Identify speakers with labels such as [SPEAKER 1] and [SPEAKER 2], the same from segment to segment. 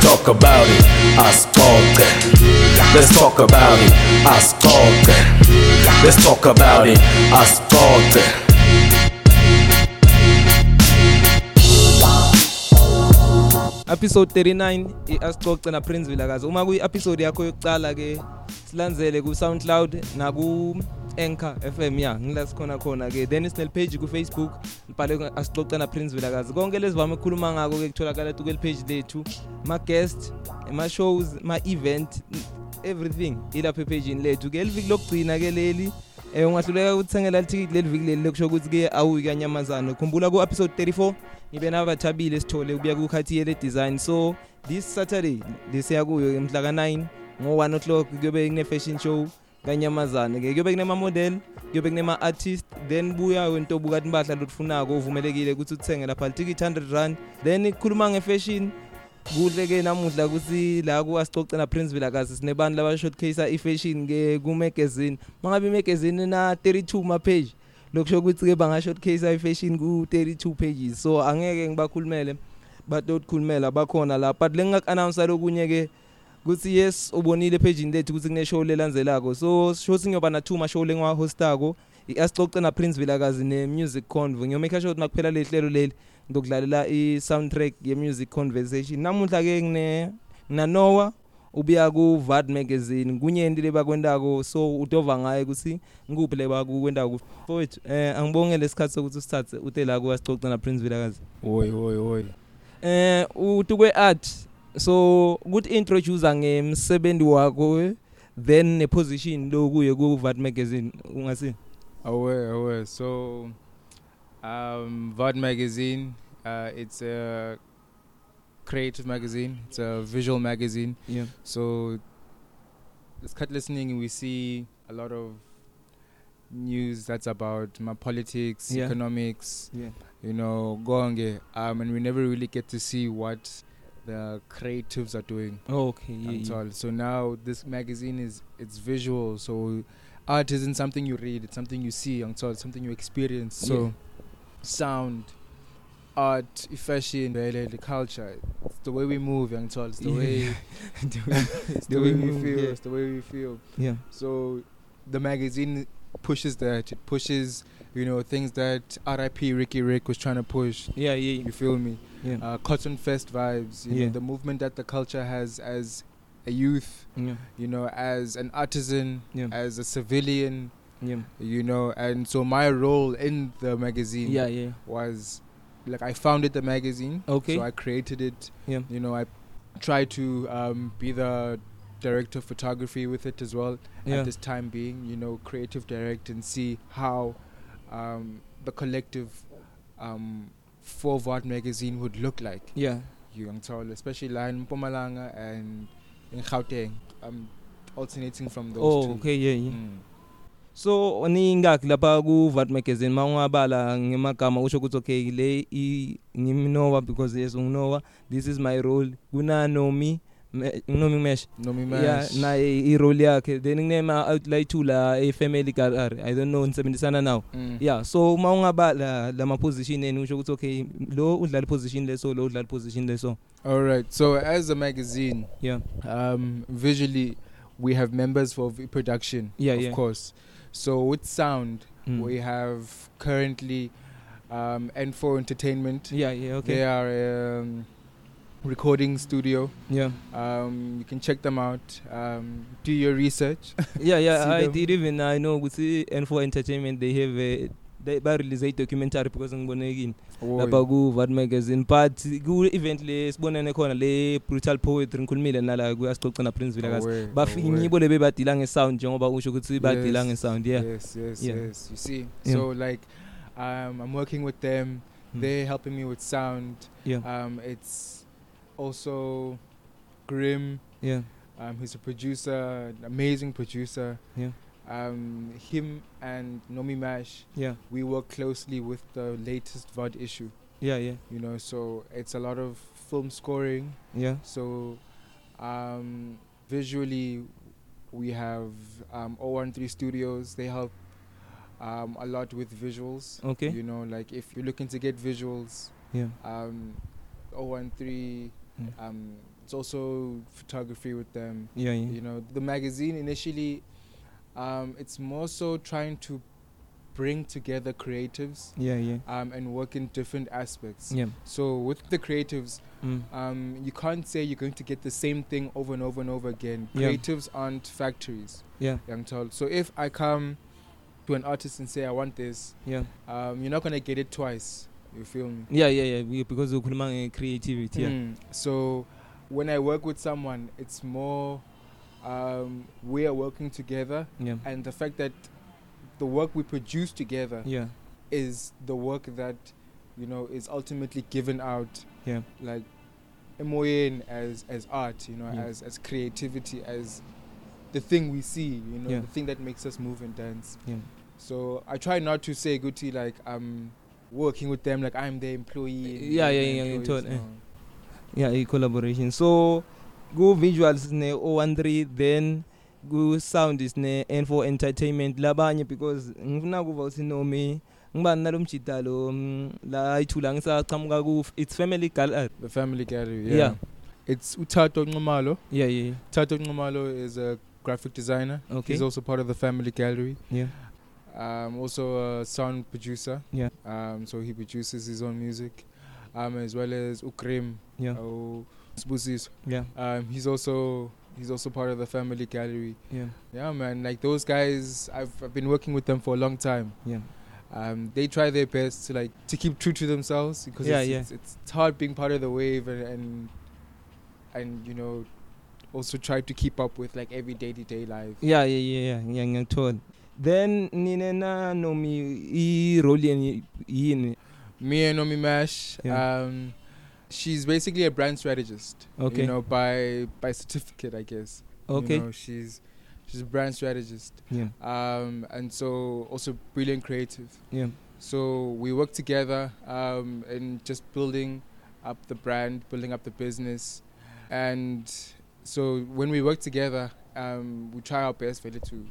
[SPEAKER 1] talk about it, asitoke. Let's talk about it, asitoke. Let's talk about it, asitoke.
[SPEAKER 2] episode 39 iasixoxe naprince vilakazi uma kwi-episode yakho yokucala-ke silandzele ku-soundcloud naku-anchor fm ya ngila sikhona khona-ke then sinel page ku-facebook libhale asixoxe naprince vilakazi konke lezivame ukukhuluma ngako-ke kutholakala tukeli page lethu ama-guest ama-shows ama-event everything ilapha ephejini lethu-ke eliviki lokugcina-ke leli um ungahluleka ukuthengela lithikithi leli viki leli lokusho ukuthi-ke awuyi kanyamazane khumbula ku-episode 34 ngibe nabathabile sithole ukuya kukhathiyele design so this saturday lesiya kuyo mhla ka-9 ngo-1 o'clock kuyobe kune-fashion show kanyamazane-ke kuyobe kunema-model kuyobe kunema-artist then buya wento bukati impahla lotifunako uvumelekile ukuthi uthenge lapha litikithi 100 rand then kukhuluma nge-fashion kuhle-ke namuhla kutsi la kuwasicocela princeville akazi sinebantu labashotcase i-fashion-ke kumagazini mangabe imagazini na 32 ma-page lokusho ukuthi-ke bangashotcase i-fashion ku-32 pages so angeke ngibakhulumele batotikhulumela bakhona la but lengingaku-announsa lokunye-ke kuthi yes ubonile ephejini lethu ukuthi kuneshow lelandzelako so sho singiyoba na-two mashow lengiwahostako i-asixoxe naprinceville akazi ne-music convo ngiyomake sure ukuthi makuphela leli hlelo leli ngizokudlalela i-soundtrack ye-music conversation namuhla-ke ngine- nginanowa ubuya ku-vad magazine kunyenti le bakwentako so udova ngaye ukuthi ngikuphi le bakukwentako fowethu um angibonge lesikhathi sokuthi usithathe ute la kuwasixoxe naprinceville akazi
[SPEAKER 3] woy woy woy
[SPEAKER 2] eh uthi kweart so ukuthi introduce ngemsebenzi wakho eh, then neposition lokuye ku VAT magazine ungasi
[SPEAKER 3] aware aware so um vod magazine uh, it's a creative magazine it's a visual magazine
[SPEAKER 2] yeah
[SPEAKER 3] so it's cut listening we see a lot of news that's about my politics
[SPEAKER 2] Yeah.
[SPEAKER 3] economics
[SPEAKER 2] yeah
[SPEAKER 3] you know gonge um and we never really get to see what the creatives are doing
[SPEAKER 2] Oh, okay yeah,
[SPEAKER 3] and
[SPEAKER 2] yeah.
[SPEAKER 3] all. So now this magazine is it's visual. So art isn't something you read; it's something you see. And so it's something you experience. So
[SPEAKER 2] Yeah.
[SPEAKER 3] sound, art, fashion, the, the, the culture, it's the way we move. And so it's the
[SPEAKER 2] Yeah.
[SPEAKER 3] way it's the
[SPEAKER 2] the
[SPEAKER 3] way
[SPEAKER 2] way we
[SPEAKER 3] we
[SPEAKER 2] move,
[SPEAKER 3] feel.
[SPEAKER 2] yeah.
[SPEAKER 3] It's the way we feel.
[SPEAKER 2] yeah
[SPEAKER 3] So the magazine pushes that. It pushes you know things that RIP Ricky Rick was trying to push.
[SPEAKER 2] yeah yeah
[SPEAKER 3] You feel me?
[SPEAKER 2] yeah
[SPEAKER 3] Uh, Cotton Fest vibes. You
[SPEAKER 2] Yeah.
[SPEAKER 3] know the movement that the culture has as a youth
[SPEAKER 2] yeah
[SPEAKER 3] you know, as an artisan,
[SPEAKER 2] yeah
[SPEAKER 3] as a civilian,
[SPEAKER 2] yeah
[SPEAKER 3] you know, and so my role in the magazine
[SPEAKER 2] yeah yeah
[SPEAKER 3] was like I founded the magazine,
[SPEAKER 2] Okay.
[SPEAKER 3] so I created it,
[SPEAKER 2] yeah
[SPEAKER 3] you know, I tried to um, be the director of photography with it as well
[SPEAKER 2] yeah
[SPEAKER 3] at this time being, you know, creative direct and see how um, the collective um, for Vod magazine would look like.
[SPEAKER 2] yeah
[SPEAKER 3] You Yangtol, especially la in Mpumalanga and in Gauteng. I'm alternating from those two.
[SPEAKER 2] oh okay yeah yeah
[SPEAKER 3] Mm.
[SPEAKER 2] so ningakhi lapha ku-vat magazine ma ungabala ngemagama usho ukuthi okay le i- ngimnova because yes unginova this is my role kunanomi Me- nomi mesh
[SPEAKER 3] Nomi
[SPEAKER 2] yeah
[SPEAKER 3] Mash.
[SPEAKER 2] naye irole yakhe then kunema-outlay two la e-family gar i don't know nisebenzisana nawo
[SPEAKER 3] Mm.
[SPEAKER 2] yeah so uma ungabala la ma-position eni usho ukuthi okay lo udlala i-position leso lo udlala i-position leso
[SPEAKER 3] All right. So as a magazine,
[SPEAKER 2] yeah
[SPEAKER 3] um, visually, we have members for v- production,
[SPEAKER 2] Yeah,
[SPEAKER 3] of
[SPEAKER 2] yeah.
[SPEAKER 3] course. So with sound,
[SPEAKER 2] Mm.
[SPEAKER 3] we have currently um, N4 Entertainment.
[SPEAKER 2] yeah yeah okay
[SPEAKER 3] They are um, recording studio.
[SPEAKER 2] yeah
[SPEAKER 3] Um, you can check them out. Um, do your research.
[SPEAKER 2] yeah yeah
[SPEAKER 3] See
[SPEAKER 2] i
[SPEAKER 3] them.
[SPEAKER 2] did even i know ukuthi n4 entertainment they have a, they barelease i-documentary because ngibonekini lapha ku-vat magazine but ku-event le sibonene khona le brutal poetry ngikhulumile nala ku-asixoxa naprinceville kazi
[SPEAKER 3] Aware, aware.
[SPEAKER 2] bafinyibo lebe badila ngesound njengoba usho ukuthi badila
[SPEAKER 3] Yes.
[SPEAKER 2] ngesound yeah
[SPEAKER 3] Yes, yes,
[SPEAKER 2] Yeah.
[SPEAKER 3] yes. You see,
[SPEAKER 2] Yeah.
[SPEAKER 3] so like, um, I'm working with them.
[SPEAKER 2] Mm.
[SPEAKER 3] They're helping me with sound.
[SPEAKER 2] yeah
[SPEAKER 3] Um, it's also Grim.
[SPEAKER 2] yeah
[SPEAKER 3] Um, he's a producer, an amazing producer.
[SPEAKER 2] Yeah.
[SPEAKER 3] Um, him and Nomi Mash,
[SPEAKER 2] yeah
[SPEAKER 3] we work closely with the latest VOD issue.
[SPEAKER 2] yeah yeah
[SPEAKER 3] You know, so it's a lot of film scoring.
[SPEAKER 2] yeah
[SPEAKER 3] So, um, visually, we have um, 013 Studios. They help um, a lot with visuals.
[SPEAKER 2] okay
[SPEAKER 3] You know, like if um, you're looking to get visuals,
[SPEAKER 2] yeah
[SPEAKER 3] um, 013
[SPEAKER 2] Mm.
[SPEAKER 3] um, it's also photography with them.
[SPEAKER 2] yeah,
[SPEAKER 3] You
[SPEAKER 2] yeah.
[SPEAKER 3] know, the magazine initially, um, it's more so trying to bring together creatives
[SPEAKER 2] yeah yeah
[SPEAKER 3] um, and work in different aspects.
[SPEAKER 2] yeah
[SPEAKER 3] So with the creatives,
[SPEAKER 2] mm.
[SPEAKER 3] um, you can't say you're going to get the same thing over and over and over again.
[SPEAKER 2] Yeah.
[SPEAKER 3] Creatives aren't factories,
[SPEAKER 2] yeah
[SPEAKER 3] young child. So if I come to an artist and say I want this,
[SPEAKER 2] yeah
[SPEAKER 3] um, you're not gonna get it twice. You feel me?
[SPEAKER 2] yeah yeah yeah we- because ukhuluma nge-creativity yeah
[SPEAKER 3] Mm. So when I work with someone, it's more um, we are working together,
[SPEAKER 2] yeah
[SPEAKER 3] and the fact that the work we produce together
[SPEAKER 2] yeah
[SPEAKER 3] is the work that you know is ultimately given out
[SPEAKER 2] Yeah.
[SPEAKER 3] like emoyen as as art you know
[SPEAKER 2] Yeah.
[SPEAKER 3] as as creativity as the thing we see you know
[SPEAKER 2] Yeah.
[SPEAKER 3] the thing that makes us move and dance
[SPEAKER 2] Yeah.
[SPEAKER 3] so i try not to say guti like i'm working with them like i'm their employee and
[SPEAKER 2] Yeah,
[SPEAKER 3] they're
[SPEAKER 2] yeah,
[SPEAKER 3] my
[SPEAKER 2] yeah, yeah,
[SPEAKER 3] employees.
[SPEAKER 2] totally.
[SPEAKER 3] No.
[SPEAKER 2] yeah i-collaboration so ku-visuals ne-013 then ku-sound is ne-n4 entertainment labanye because ngifuna kuva ukuthi nomi ngibani nalo mjida lo mm, la ithula ngisachamuka ku-its family gallery
[SPEAKER 3] the family gallery yeah,
[SPEAKER 2] Yeah.
[SPEAKER 3] it's utato Nxumalo.
[SPEAKER 2] yeah yeah
[SPEAKER 3] utato Nxumalo is a graphic designer
[SPEAKER 2] Okay.
[SPEAKER 3] he's also part of the family gallery
[SPEAKER 2] yeah
[SPEAKER 3] um, also a sound producer.
[SPEAKER 2] Yeah.
[SPEAKER 3] Um, so he produces his own music, um, as well as Ukrim.
[SPEAKER 2] yeah
[SPEAKER 3] Oh, Sbusis.
[SPEAKER 2] yeah
[SPEAKER 3] Um, he's also he's also part of the family gallery.
[SPEAKER 2] yeah
[SPEAKER 3] Yeah, man. Like those guys, I've, I've been working with them for a long time.
[SPEAKER 2] yeah
[SPEAKER 3] Um, they try their best to like to keep true to themselves because
[SPEAKER 2] Yeah,
[SPEAKER 3] it's,
[SPEAKER 2] yeah.
[SPEAKER 3] It's, it's it's hard being part of the wave and and, and you know also try to keep up with like every day to day life.
[SPEAKER 2] yeah yeah yeah yeah yeah ngiyakuthola then nine nanomi i-role yenu yini
[SPEAKER 3] Me and Nomi Mash.
[SPEAKER 2] Yeah.
[SPEAKER 3] Um, she's basically a brand strategist.
[SPEAKER 2] Okay.
[SPEAKER 3] You know, by by certificate, I guess.
[SPEAKER 2] okay
[SPEAKER 3] You know, she's she's a brand strategist,
[SPEAKER 2] yeah
[SPEAKER 3] um, and so also brilliant creative.
[SPEAKER 2] yeah
[SPEAKER 3] So we work together um, in just building up the brand, building up the business, and so when we work together, um, we try our best really to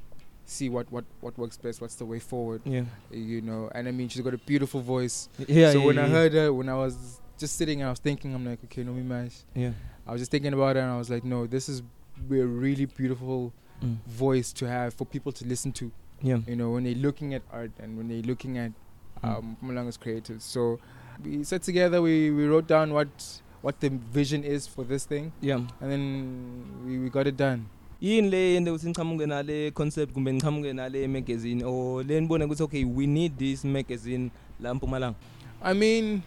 [SPEAKER 3] see what, what, what works best, what's the way forward,
[SPEAKER 2] yeah
[SPEAKER 3] you know. And I mean, she's got a beautiful voice
[SPEAKER 2] yeah
[SPEAKER 3] so
[SPEAKER 2] yeah,
[SPEAKER 3] when I
[SPEAKER 2] yeah,
[SPEAKER 3] heard her, when I was just sitting and I was thinking, I'm like, okay, Nomi Mash.
[SPEAKER 2] yeah
[SPEAKER 3] I was just thinking about it and I was like, no, this is be a really beautiful
[SPEAKER 2] Mm.
[SPEAKER 3] voice to have for people to listen to,
[SPEAKER 2] yeah
[SPEAKER 3] you know, when they're looking at art and when they're looking at
[SPEAKER 2] Mm.
[SPEAKER 3] um, Mpumalanga's creatives. So we sat together, we, we wrote down what what the vision is for this thing,
[SPEAKER 2] yeah
[SPEAKER 3] and then we, we got it done.
[SPEAKER 2] yini le yende ukuthi ngiqhamuke nale concept kumbe ngiqhamuke nale magazine or le nibone ukuthi okay we need this magazine la mpumalanga
[SPEAKER 3] I mean,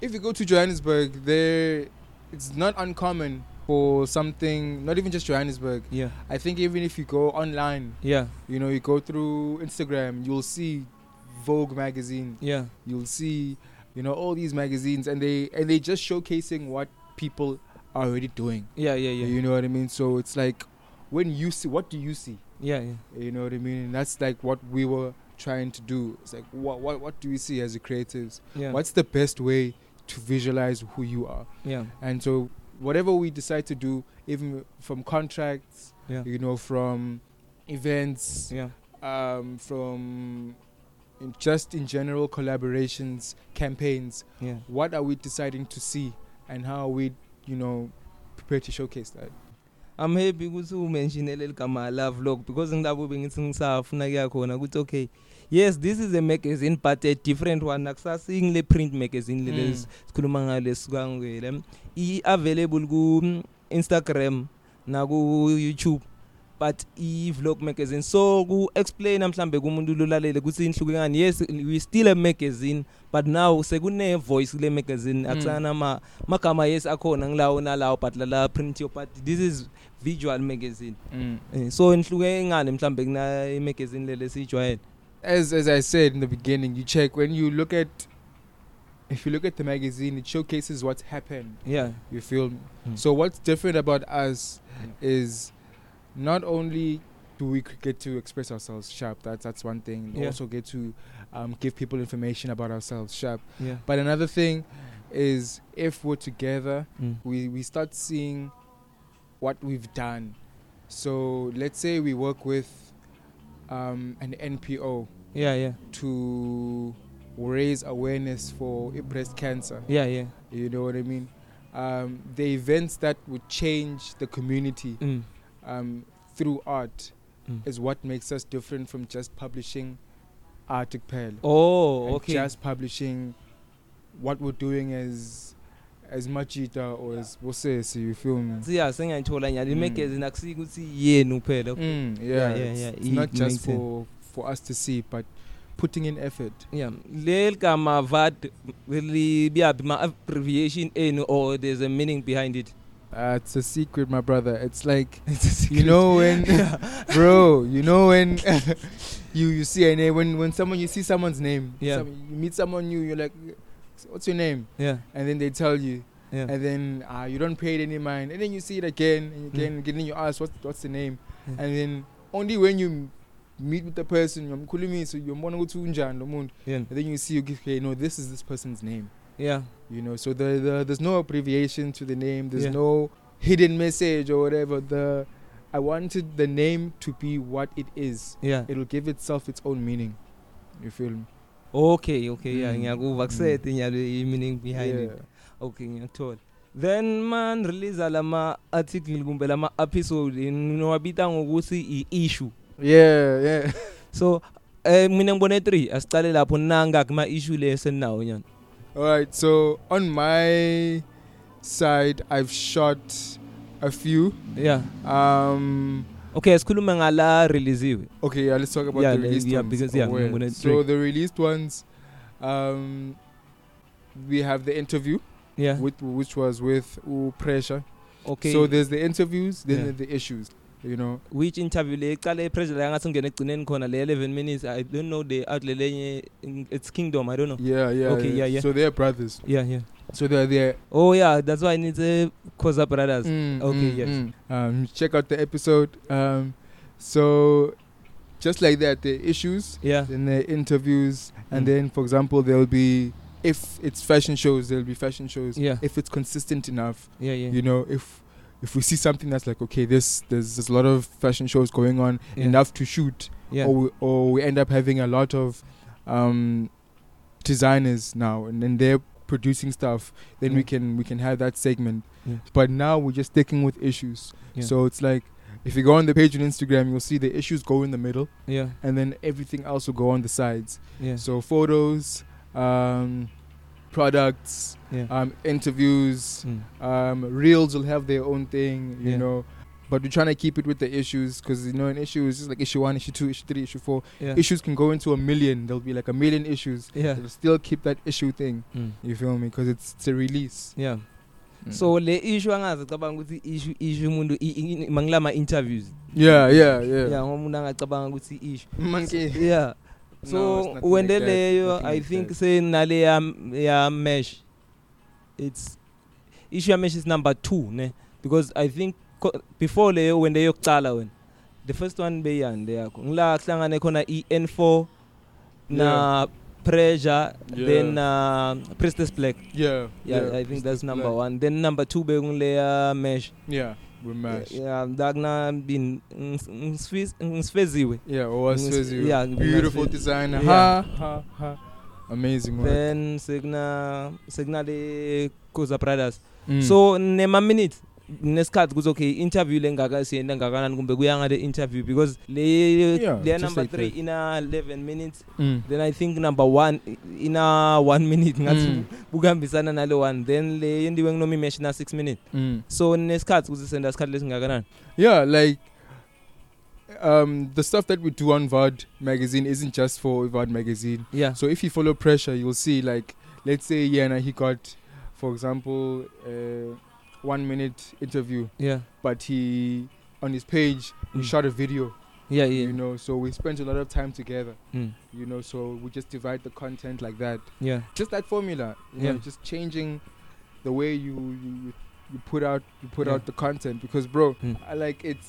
[SPEAKER 3] if you go to Johannesburg, there it's not uncommon for something, not even just Johannesburg,
[SPEAKER 2] yeah
[SPEAKER 3] I think even if you go online,
[SPEAKER 2] yeah
[SPEAKER 3] you know, you go through Instagram, you'll see Vogue magazine,
[SPEAKER 2] yeah
[SPEAKER 3] you'll see, you know, all these magazines, and they and they just showcasing what people are already doing.
[SPEAKER 2] yeah yeah yeah
[SPEAKER 3] You know what I mean? So it's like, when you see, what do you see?
[SPEAKER 2] yeah yeah
[SPEAKER 3] You know what I mean? And that's like what we were trying to do. It's like, what what what do we see as the creatives?
[SPEAKER 2] yeah
[SPEAKER 3] What's the best way to visualize who you are?
[SPEAKER 2] yeah
[SPEAKER 3] And so whatever we decide to do, even from contracts,
[SPEAKER 2] Yeah.
[SPEAKER 3] you know, from events,
[SPEAKER 2] yeah
[SPEAKER 3] um, from in just in general collaborations, campaigns,
[SPEAKER 2] yeah
[SPEAKER 3] what are we deciding to see and how are we, you know, prepared to showcase that?
[SPEAKER 2] i'm happy ukuthi umentionele ligama la vlog because ngilabo bengithi ngisafuna kuya khona ukuthi okay yes this is a magazine but a different one akusasingile print magazine
[SPEAKER 3] Mm.
[SPEAKER 2] le sikhuluma ngale sikangwele i-available ku-instagram naku-youtube but i-vlog magazine so ku-explaina mhlambe kumuntu lolalele ukuthi inhluke ngani yes we still a magazine but now sekune-voice kule magazine
[SPEAKER 3] Mm.
[SPEAKER 2] akusanama magama yes akhona ngilawo nalawo but lala print yo but this is visual magazine Eh, so inhluke ngani mhlambe kuna imagazine lele siyijwayele
[SPEAKER 3] As as I said in the beginning, you check when you look at if you look at the magazine, it showcases what's happened.
[SPEAKER 2] yeah
[SPEAKER 3] You feel me?
[SPEAKER 2] Mm.
[SPEAKER 3] So what's different about us is not only do we c- get to express ourselves sharp, that's that's one thing. We
[SPEAKER 2] Yeah.
[SPEAKER 3] Also get to um, give people information about ourselves sharp.
[SPEAKER 2] yeah
[SPEAKER 3] But another thing is if we're together,
[SPEAKER 2] mm.
[SPEAKER 3] we, we start seeing what we've done. So let's say we work with um, an NPO
[SPEAKER 2] yeah yeah
[SPEAKER 3] to raise awareness for breast cancer.
[SPEAKER 2] yeah yeah
[SPEAKER 3] You know what I mean? um, the events that would change the community
[SPEAKER 2] Mm.
[SPEAKER 3] um, through art
[SPEAKER 2] Mm.
[SPEAKER 3] is what makes us different from just publishing Arctic Pearl.
[SPEAKER 2] Oh,
[SPEAKER 3] and
[SPEAKER 2] okay.
[SPEAKER 3] Just publishing what we're doing as as Machita or as Bosesi, you feel me?
[SPEAKER 2] siya sengiyayithola nyani
[SPEAKER 3] Mm.
[SPEAKER 2] imagazini akusike ukuthi yenu kuphela
[SPEAKER 3] Mm, yeah,
[SPEAKER 2] Yeah, yeah,
[SPEAKER 3] it's,
[SPEAKER 2] yeah,
[SPEAKER 3] it's
[SPEAKER 2] it
[SPEAKER 3] not
[SPEAKER 2] makes
[SPEAKER 3] just
[SPEAKER 2] sense.
[SPEAKER 3] for for us to see, but putting in effort.
[SPEAKER 2] yeah leli gama vad libiyaphi ma-abbreviation enu or there's a meaning behind it
[SPEAKER 3] Uh, it's a secret, my brother. It's like
[SPEAKER 2] It's a
[SPEAKER 3] you
[SPEAKER 2] secret.
[SPEAKER 3] know when, bro. You know when you you see a name when when someone you see someone's name.
[SPEAKER 2] Yeah.
[SPEAKER 3] some- you meet someone new. You're like, what's your name?
[SPEAKER 2] yeah
[SPEAKER 3] And then they tell you,
[SPEAKER 2] yeah
[SPEAKER 3] and then uh, you don't pay it any mind. And then you see it again and again. And then you ask, what what's the name?
[SPEAKER 2] Yeah.
[SPEAKER 3] And then only when you m- meet with the person, you're me, so you're and
[SPEAKER 2] yeah
[SPEAKER 3] then you see, okay, no, this is this person's name.
[SPEAKER 2] yeah
[SPEAKER 3] you know so the, the there's no abbreviation to the name there's
[SPEAKER 2] Yeah.
[SPEAKER 3] no hidden message or whatever the i wanted the name to be what it is
[SPEAKER 2] yeah
[SPEAKER 3] it'll give itself its own meaning you feel me
[SPEAKER 2] okay okay yeah
[SPEAKER 3] Mm.
[SPEAKER 2] ngiyakuva kusethe nyalo i-meaning behind it
[SPEAKER 3] Yeah.
[SPEAKER 2] okay ngiyakuthola then manirelease-a lama-article kumbe lama-episode niwabita ngokuthi i-issue
[SPEAKER 3] yeah yeah
[SPEAKER 2] so um mina ngibone three asicale lapho nangaki ma-issue leyo seninawo nyana
[SPEAKER 3] all right so on my side i've shot a few
[SPEAKER 2] yeah
[SPEAKER 3] um
[SPEAKER 2] okay sikhulume ngala releasiwe
[SPEAKER 3] okay yeah let's talk about
[SPEAKER 2] Yeah,
[SPEAKER 3] the
[SPEAKER 2] the-
[SPEAKER 3] released
[SPEAKER 2] yeah,
[SPEAKER 3] ones
[SPEAKER 2] because- yeah,
[SPEAKER 3] Oh,
[SPEAKER 2] I'm gonna
[SPEAKER 3] so
[SPEAKER 2] drink.
[SPEAKER 3] the released ones um we have the interview
[SPEAKER 2] yeah
[SPEAKER 3] with, which was with Ooh pressure
[SPEAKER 2] okay
[SPEAKER 3] So there's the interviews, then
[SPEAKER 2] Yeah.
[SPEAKER 3] there's the issues. You know,
[SPEAKER 2] which interview le iqale ipressure la ngathi ngene egcineni khona le 11 minutes i don't know the out lelenye it's kingdom i don't know
[SPEAKER 3] yeah, yeah.
[SPEAKER 2] Oh. Okay, yeah, yeah.
[SPEAKER 3] So they're brothers.
[SPEAKER 2] yeah yeah
[SPEAKER 3] So they're there.
[SPEAKER 2] oh yeah that's why i need to cause up brothers
[SPEAKER 3] Mm,
[SPEAKER 2] Okay,
[SPEAKER 3] mm,
[SPEAKER 2] yes.
[SPEAKER 3] mm. Um, check out the episode. Um, so just like that, the issues,
[SPEAKER 2] yeah
[SPEAKER 3] then the interviews,
[SPEAKER 2] Mm.
[SPEAKER 3] and then, for example, there'll be if it's fashion shows, there'll be fashion shows.
[SPEAKER 2] yeah
[SPEAKER 3] If it's consistent enough,
[SPEAKER 2] yeah yeah
[SPEAKER 3] you know, if if we see something that's like okay, this there's, there's a lot of fashion shows going on,
[SPEAKER 2] Yeah.
[SPEAKER 3] enough to shoot,
[SPEAKER 2] yeah
[SPEAKER 3] or, we, or we end up having a lot of um, designers now, and then they're producing stuff. Then we
[SPEAKER 2] Yeah.
[SPEAKER 3] can we can have that segment.
[SPEAKER 2] Yeah.
[SPEAKER 3] But now we're just sticking with issues.
[SPEAKER 2] Yeah.
[SPEAKER 3] So it's like if you go on the page on Instagram, you'll see the issues go in the middle,
[SPEAKER 2] yeah
[SPEAKER 3] and then everything else will go on the sides.
[SPEAKER 2] yeah
[SPEAKER 3] So photos, um, products,
[SPEAKER 2] yeah
[SPEAKER 3] um, interviews,
[SPEAKER 2] Mm.
[SPEAKER 3] um, reels will have their own thing, you
[SPEAKER 2] Yeah.
[SPEAKER 3] know. But we're trying to keep it with the issues because you know an issue is just like issue one, issue two, issue three, issue four.
[SPEAKER 2] yeah
[SPEAKER 3] Issues can go into a million. There'll be like a million issues.
[SPEAKER 2] yeah
[SPEAKER 3] It'll still keep that issue thing.
[SPEAKER 2] Mm.
[SPEAKER 3] You feel me? Because it's it's a release.
[SPEAKER 2] yeah
[SPEAKER 3] Mm.
[SPEAKER 2] so le issue angazicabanga ukuthi issue issue umuntu i- i- i- mangilama interviews
[SPEAKER 3] yeah, yeah, yeah.
[SPEAKER 2] yeah ngoba umuntu angacabanga ukuthi i- issue
[SPEAKER 3] Monkey.
[SPEAKER 2] yeah
[SPEAKER 3] No,
[SPEAKER 2] so
[SPEAKER 3] it's nothing like
[SPEAKER 2] wende
[SPEAKER 3] that,
[SPEAKER 2] leyo
[SPEAKER 3] nothing
[SPEAKER 2] i
[SPEAKER 3] like
[SPEAKER 2] think
[SPEAKER 3] that.
[SPEAKER 2] senale ya ya mesh it's issue ya mesh is number 2 ne because i think co- before leyo wende yokucala wena the first one beyande yakho ngila hlangane khona iN4 na pressure
[SPEAKER 3] Yeah.
[SPEAKER 2] then uh, priestess black
[SPEAKER 3] Yeah,
[SPEAKER 2] yeah, i think that's number
[SPEAKER 3] Black.
[SPEAKER 2] 1 then number 2 bekungileya mesh
[SPEAKER 3] Yeah, we're mashed. Yeah,
[SPEAKER 2] yeah ndakuna bin ngisifeziwe
[SPEAKER 3] or
[SPEAKER 2] Yes,
[SPEAKER 3] was
[SPEAKER 2] yeah,
[SPEAKER 3] yeah, beautiful
[SPEAKER 2] Masfezi.
[SPEAKER 3] design.
[SPEAKER 2] Yeah.
[SPEAKER 3] Ha ha ha. Amazing work.
[SPEAKER 2] then sekuna sekunale Khoza Brothers
[SPEAKER 3] Mm.
[SPEAKER 2] so nema minutes nesikhathi kuthi okay interview lengaka siyenda ngakanani kumbe kuya ngale interview because le
[SPEAKER 3] Yeah,
[SPEAKER 2] le
[SPEAKER 3] just
[SPEAKER 2] number
[SPEAKER 3] like
[SPEAKER 2] 3
[SPEAKER 3] that.
[SPEAKER 2] ina 11 minutes
[SPEAKER 3] Mm.
[SPEAKER 2] then i think number 1 ina 1 minute ngathi
[SPEAKER 3] Mm.
[SPEAKER 2] bukuhambisana nale 1 then le yendiwe nginoma imesh na 6 minutes
[SPEAKER 3] Mm.
[SPEAKER 2] so nesikhathi kuthi senda isikhathi lesingakanani
[SPEAKER 3] Yeah, like um, the stuff that we do on VOD magazine isn't just for VOD magazine.
[SPEAKER 2] yeah
[SPEAKER 3] So if you follow pressure, you'll see like let's say Yana he got, for example, uh, one minute interview,
[SPEAKER 2] yeah
[SPEAKER 3] but he on his page we
[SPEAKER 2] Mm.
[SPEAKER 3] shot a video.
[SPEAKER 2] yeah
[SPEAKER 3] You
[SPEAKER 2] yeah
[SPEAKER 3] know, so we spent a lot of time together.
[SPEAKER 2] Mm.
[SPEAKER 3] You know, so we just divide the content like that.
[SPEAKER 2] yeah
[SPEAKER 3] Just that formula. You
[SPEAKER 2] Yeah.
[SPEAKER 3] know, just changing the way you you, you- you put out you put
[SPEAKER 2] Yeah.
[SPEAKER 3] out the content because bro,
[SPEAKER 2] Mm.
[SPEAKER 3] I like it's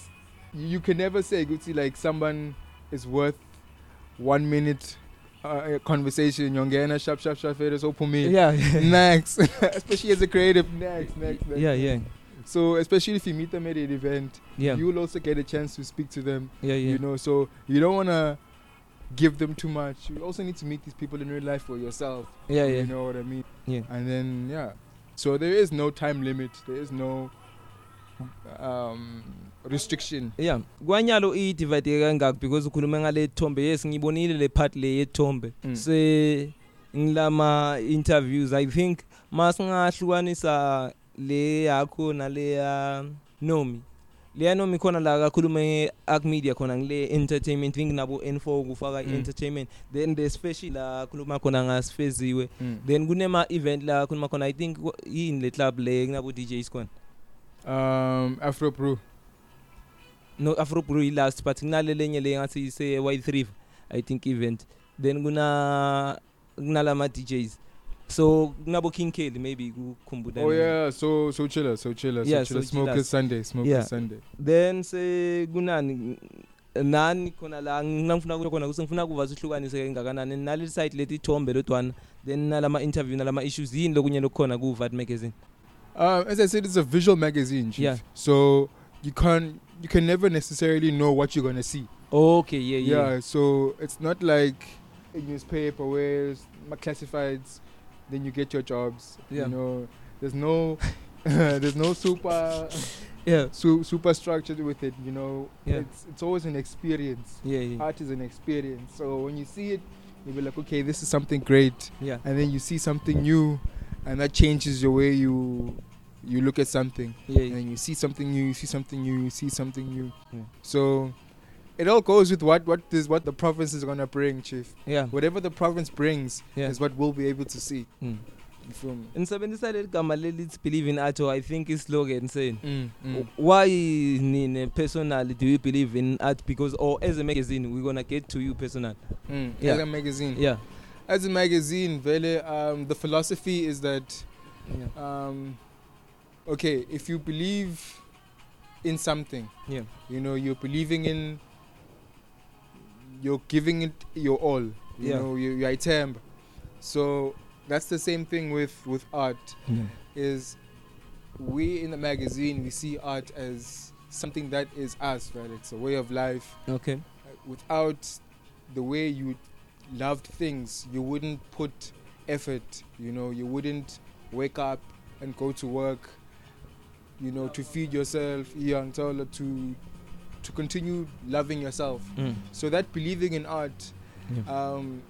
[SPEAKER 3] you can never say Gucci like someone is worth one minute uh, conversation. Yongena sharp sharp sharp it is open me.
[SPEAKER 2] yeah
[SPEAKER 3] Next, especially as a creative, next, next, next.
[SPEAKER 2] yeah yeah
[SPEAKER 3] So especially if you meet them at an event,
[SPEAKER 2] yeah
[SPEAKER 3] you will also get a chance to speak to them.
[SPEAKER 2] yeah yeah
[SPEAKER 3] You know, so you don't wanna give them too much. You also need to meet these people in real life for yourself.
[SPEAKER 2] yeah yeah
[SPEAKER 3] You know what I mean?
[SPEAKER 2] Yeah.
[SPEAKER 3] And then yeah, So there is no time limit. There is no um, restriction.
[SPEAKER 2] yeah kwanyalo iyidivide kangaki because ukhulume ngale thombe yes ngiyibonile le part le yethombe
[SPEAKER 3] Mm.
[SPEAKER 2] se ngilama interviews i think masingahlukanisa le yakho naleya nomi leya nomi khona la kakhulume nge-arc media khona ngile entertainment think nabo n4 kufaka
[SPEAKER 3] Mm.
[SPEAKER 2] i-entertainment then the special la khuluma khona ngasifeziwe
[SPEAKER 3] Mm.
[SPEAKER 2] then kunema-event la khuluma khona i think ku- yini le club le kunabo-djs khona
[SPEAKER 3] Um, Afro Pro.
[SPEAKER 2] no afrobrew yilast but kunalelenye le ngathi ise-white river i think event then kuna kunalama-djs so kunabo-king kale maybe kukhumbula
[SPEAKER 3] Oh
[SPEAKER 2] mina.
[SPEAKER 3] yeah, so so chiller, so chiller, so
[SPEAKER 2] Yeah,
[SPEAKER 3] chiller.
[SPEAKER 2] so
[SPEAKER 3] Smoke
[SPEAKER 2] chillers.
[SPEAKER 3] is Sunday, smoke
[SPEAKER 2] Yeah.
[SPEAKER 3] is Sunday.
[SPEAKER 2] then sekunani nani khona la ngina ngifuna kuyo khona ukuthi ngifuna kuvaza uhlukanise engakanani naleli site leti thombe lodwana then nalama-interview nalama-issues yini lokunye lokukhona ku-vat magazine
[SPEAKER 3] Um, as I said, it's a visual magazine. Chief.
[SPEAKER 2] Yeah.
[SPEAKER 3] So you can't, you can never necessarily know what you're gonna see.
[SPEAKER 2] okay yeah yeah,
[SPEAKER 3] Yeah. So it's not like a newspaper where it's ma- classifieds, then you get your jobs.
[SPEAKER 2] Yeah.
[SPEAKER 3] You know, there's no, there's no super
[SPEAKER 2] yeah.
[SPEAKER 3] su- super structure with it. You know,
[SPEAKER 2] Yeah.
[SPEAKER 3] it's it's always an experience.
[SPEAKER 2] yeah, yeah.
[SPEAKER 3] Art is an experience. So when you see it, you'll be like, okay, this is something great.
[SPEAKER 2] yeah.
[SPEAKER 3] and then you see something new and that changes the way you you look at something
[SPEAKER 2] yeah. Hmm.
[SPEAKER 3] and then you see something new you see something new you see something new
[SPEAKER 2] Yeah.
[SPEAKER 3] so it all goes with what what is what the province is going to bring chief
[SPEAKER 2] yeah.
[SPEAKER 3] whatever the province brings
[SPEAKER 2] Hmm. yeah.
[SPEAKER 3] is what we'll be able to see
[SPEAKER 2] Mm.
[SPEAKER 3] you feel me
[SPEAKER 2] nisebenzisa leli gama lelithi believe in art or i think islogan seni
[SPEAKER 3] mm, mm.
[SPEAKER 2] why nine personally do you believe in art because or as a magazine we're gonna get to you personal
[SPEAKER 3] Mm.
[SPEAKER 2] Yeah.
[SPEAKER 3] as a magazine
[SPEAKER 2] yeah
[SPEAKER 3] as a magazine vele um, the philosophy is that
[SPEAKER 2] yeah
[SPEAKER 3] um, okay if you believe in something
[SPEAKER 2] Yeah.
[SPEAKER 3] you know you're believing in you're giving it your all you
[SPEAKER 2] Yeah.
[SPEAKER 3] know you, you itemba so that's the same thing with with art
[SPEAKER 2] yeah,
[SPEAKER 3] is we in the magazine we see art as something that is us right it's a way of life
[SPEAKER 2] okay
[SPEAKER 3] Uh, without the way you loved things you wouldn't put effort you know you wouldn't wake up and go to work you know to feed yourself yeah, and so on, to to continue loving yourself
[SPEAKER 2] mm.
[SPEAKER 3] so that believing in art
[SPEAKER 2] yeah.
[SPEAKER 3] um,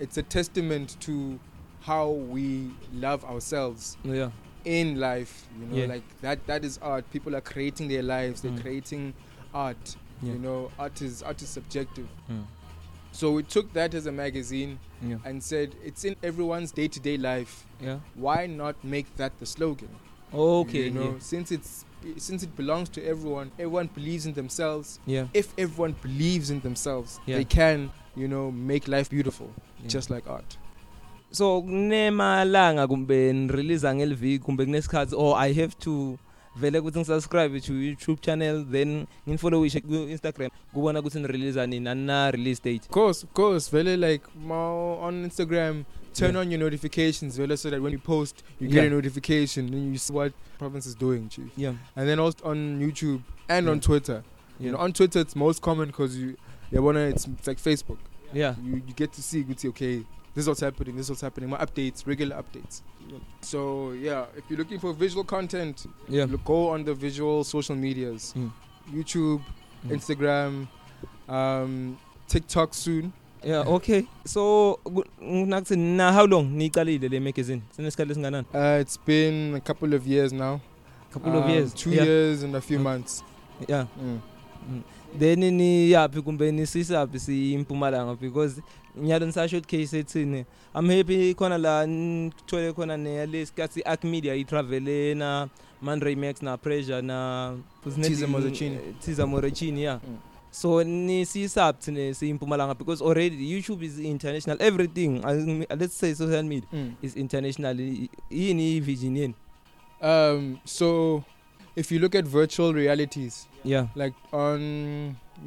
[SPEAKER 3] it's a testament to how we love ourselves
[SPEAKER 2] yeah
[SPEAKER 3] in life you know
[SPEAKER 2] Yeah.
[SPEAKER 3] like that that is art people are creating their lives they're
[SPEAKER 2] Mm.
[SPEAKER 3] creating art
[SPEAKER 2] Yeah.
[SPEAKER 3] you know art is art is subjective
[SPEAKER 2] Mm.
[SPEAKER 3] so we took that as a magazine
[SPEAKER 2] yeah
[SPEAKER 3] and said it's in everyone's day-to-day life
[SPEAKER 2] yeah
[SPEAKER 3] why not make that the slogan
[SPEAKER 2] okay
[SPEAKER 3] you know
[SPEAKER 2] yeah.
[SPEAKER 3] since it's since it belongs to everyone everyone believes in themselves
[SPEAKER 2] yeah
[SPEAKER 3] if everyone believes in themselves
[SPEAKER 2] Yeah.
[SPEAKER 3] they can you know make life beautiful
[SPEAKER 2] Yeah.
[SPEAKER 3] just like art
[SPEAKER 2] so kunemalanga kumbe nirelease ngeliviki kumbe kunesikhathi or i have to vele ukuthi ngisubscribe to youtube channel then nginfollowishe ku-instagram kubona ukuthi nirelease nini anina-release date
[SPEAKER 3] of course of course really like mo- on instagram turn
[SPEAKER 2] Yeah.
[SPEAKER 3] on your notifications really so that when you post you get
[SPEAKER 2] Yeah.
[SPEAKER 3] a notification and you see what province is doing chief
[SPEAKER 2] yeah
[SPEAKER 3] and then also on youtube and on
[SPEAKER 2] Yeah.
[SPEAKER 3] twitter
[SPEAKER 2] yeah
[SPEAKER 3] You know, on Twitter it's most common because you, yeah, wanna it's, it's like Facebook.
[SPEAKER 2] yeah
[SPEAKER 3] You you get to see, you see, okay, this is what's happening, this is what's happening. My updates, regular updates. So yeah, if you're looking for visual content,
[SPEAKER 2] yeah
[SPEAKER 3] look, go on the visual social medias,
[SPEAKER 2] Mm.
[SPEAKER 3] YouTube,
[SPEAKER 2] Mm.
[SPEAKER 3] Instagram, um, TikTok soon.
[SPEAKER 2] yeah okay so gu- nakuthi na how long niyicalile le magazine sinesikhathi esinganani
[SPEAKER 3] Uh, it's been a couple of years now.
[SPEAKER 2] couple of
[SPEAKER 3] Um,
[SPEAKER 2] years
[SPEAKER 3] Two
[SPEAKER 2] yeah. Mm.
[SPEAKER 3] years and a few months.
[SPEAKER 2] yeah
[SPEAKER 3] Mm.
[SPEAKER 2] then niyaphi kumbe nisisaphi siyimpumalanga because nyalo nisasho case ethini i'm happy khona la ngithole khona neyalesikhathi i-arc media itravele na mandray max na pressure na
[SPEAKER 3] Tiza Morechini.
[SPEAKER 2] tiza morechini yeah
[SPEAKER 3] Mm.
[SPEAKER 2] so nisisaphi thine siyimpumalanga because already youtube is international everything I- let's say social media
[SPEAKER 3] Mm.
[SPEAKER 2] is international I- yini i-vision yeni
[SPEAKER 3] Um, so if you look at virtual realities,
[SPEAKER 2] yeah
[SPEAKER 3] like on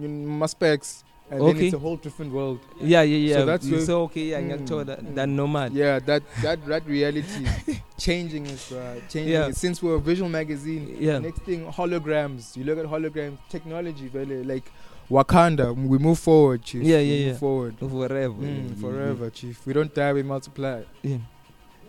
[SPEAKER 3] you know, Muspecs, and then
[SPEAKER 2] Okay.
[SPEAKER 3] it's a whole different world.
[SPEAKER 2] yeah yeah yeah
[SPEAKER 3] So that's
[SPEAKER 2] You
[SPEAKER 3] where-
[SPEAKER 2] say, okay yeah
[SPEAKER 3] Mm,
[SPEAKER 2] ngiyakuthola
[SPEAKER 3] mm.
[SPEAKER 2] than normal
[SPEAKER 3] Yeah, that that that reality is changing is uh, changing.
[SPEAKER 2] Yeah.
[SPEAKER 3] It. Since we're a visual magazine,
[SPEAKER 2] yeah
[SPEAKER 3] next thing holograms. You look at holograms technology, really like Wakanda. We move forward, chief.
[SPEAKER 2] Yeah,
[SPEAKER 3] We
[SPEAKER 2] yeah,
[SPEAKER 3] move Mm,
[SPEAKER 2] yeah.
[SPEAKER 3] Forward.
[SPEAKER 2] forever
[SPEAKER 3] Mm, forever, chief. We don't die. We multiply.
[SPEAKER 2] yeah.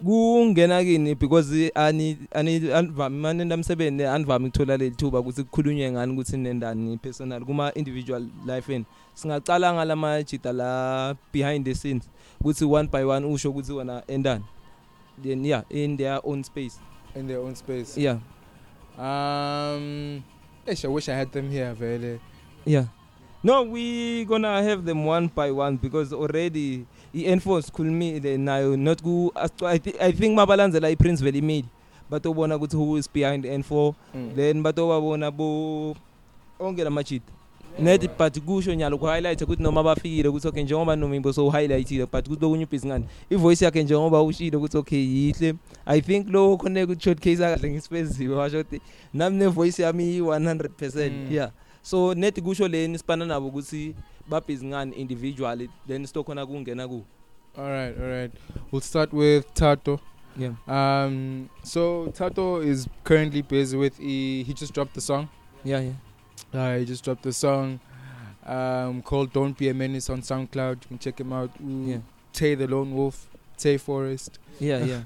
[SPEAKER 2] kungena kini because ani ani anivami manenda msebenzi anivami ukuthola leli thuba ukuthi kukhulunywe ngani ukuthi nendani personal kuma individual life eni singaqala ngalama jita la behind the scenes ukuthi one by one usho ukuthi wona endani then yeah in their own space
[SPEAKER 3] in their own space.
[SPEAKER 2] yeah
[SPEAKER 3] Um, ish, I wish I had them here, vele.
[SPEAKER 2] yeah no we gonna have them one by one because already i-enforce khulumile nayo not ku i thi- I think mabalandzela i-princeville email batobona ukuthi who is behind n4
[SPEAKER 3] Mm.
[SPEAKER 2] then batobabona bo onke lamajita net but kusho nyalo ku-highlight ukuthi noma bafikile ukuthi okay njengoba nomimbo sowuhighlightile but kuthi lokunye ubhizi ngani ivoice yakhe njengoba ushile ukuthi okay yihle i think lo khona ku-short case akahle ngisifeziwe washo ukuthi nami nevoice yami i-100 percent
[SPEAKER 3] Mm.
[SPEAKER 2] yeah so net kusho leni sibana nabo ukuthi babhizi ngani individually then sitokhona kungena kuwo
[SPEAKER 3] All right, all right. We'll start with Tato.
[SPEAKER 2] yeah
[SPEAKER 3] Um, so Tato is currently busy with. E- he just dropped the song.
[SPEAKER 2] yeah yeah
[SPEAKER 3] Uh, he just dropped the song um, called "Don't Be a Menace" on SoundCloud. You can check him out. Ooh,
[SPEAKER 2] Yeah.
[SPEAKER 3] Tay the Lone Wolf, Tay Forest.
[SPEAKER 2] yeah yeah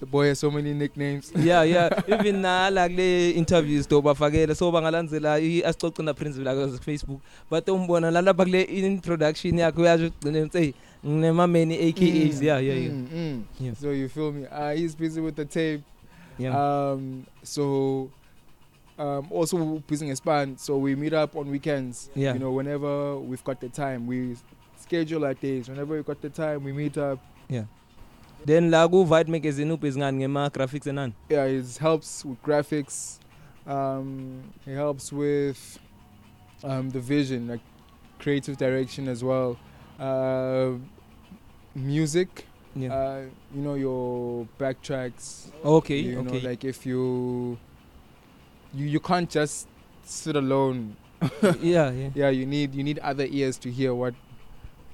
[SPEAKER 3] The boy has so many nicknames.
[SPEAKER 2] yeah yeah even nala kule interviews to bafakela so bangalandzela i-asixoxe naprince lakwazi facebook batombona nalapha kule introduction yakhe uyasho ugcine hey nginemameni AKAs yeah yeah yeah
[SPEAKER 3] Mm, mm.
[SPEAKER 2] Yeah.
[SPEAKER 3] So you feel me? Uh, he's busy with the tape.
[SPEAKER 2] yeah
[SPEAKER 3] Um, so um, also busy in span. So we meet up on weekends.
[SPEAKER 2] yeah
[SPEAKER 3] You know, whenever we've got the time, we schedule our days. Whenever we've got the time, we meet up.
[SPEAKER 2] then la ku vite magazine ubhizingani ngema graphics enani
[SPEAKER 3] Yeah, he helps with graphics. Um, he helps with um, the vision, like creative direction as well. Uh, music,
[SPEAKER 2] yeah
[SPEAKER 3] uh, you know, your backtracks,
[SPEAKER 2] okay
[SPEAKER 3] you
[SPEAKER 2] okay
[SPEAKER 3] know like if you you you can't just sit alone
[SPEAKER 2] yeah yeah
[SPEAKER 3] yeah you need you need other ears to hear what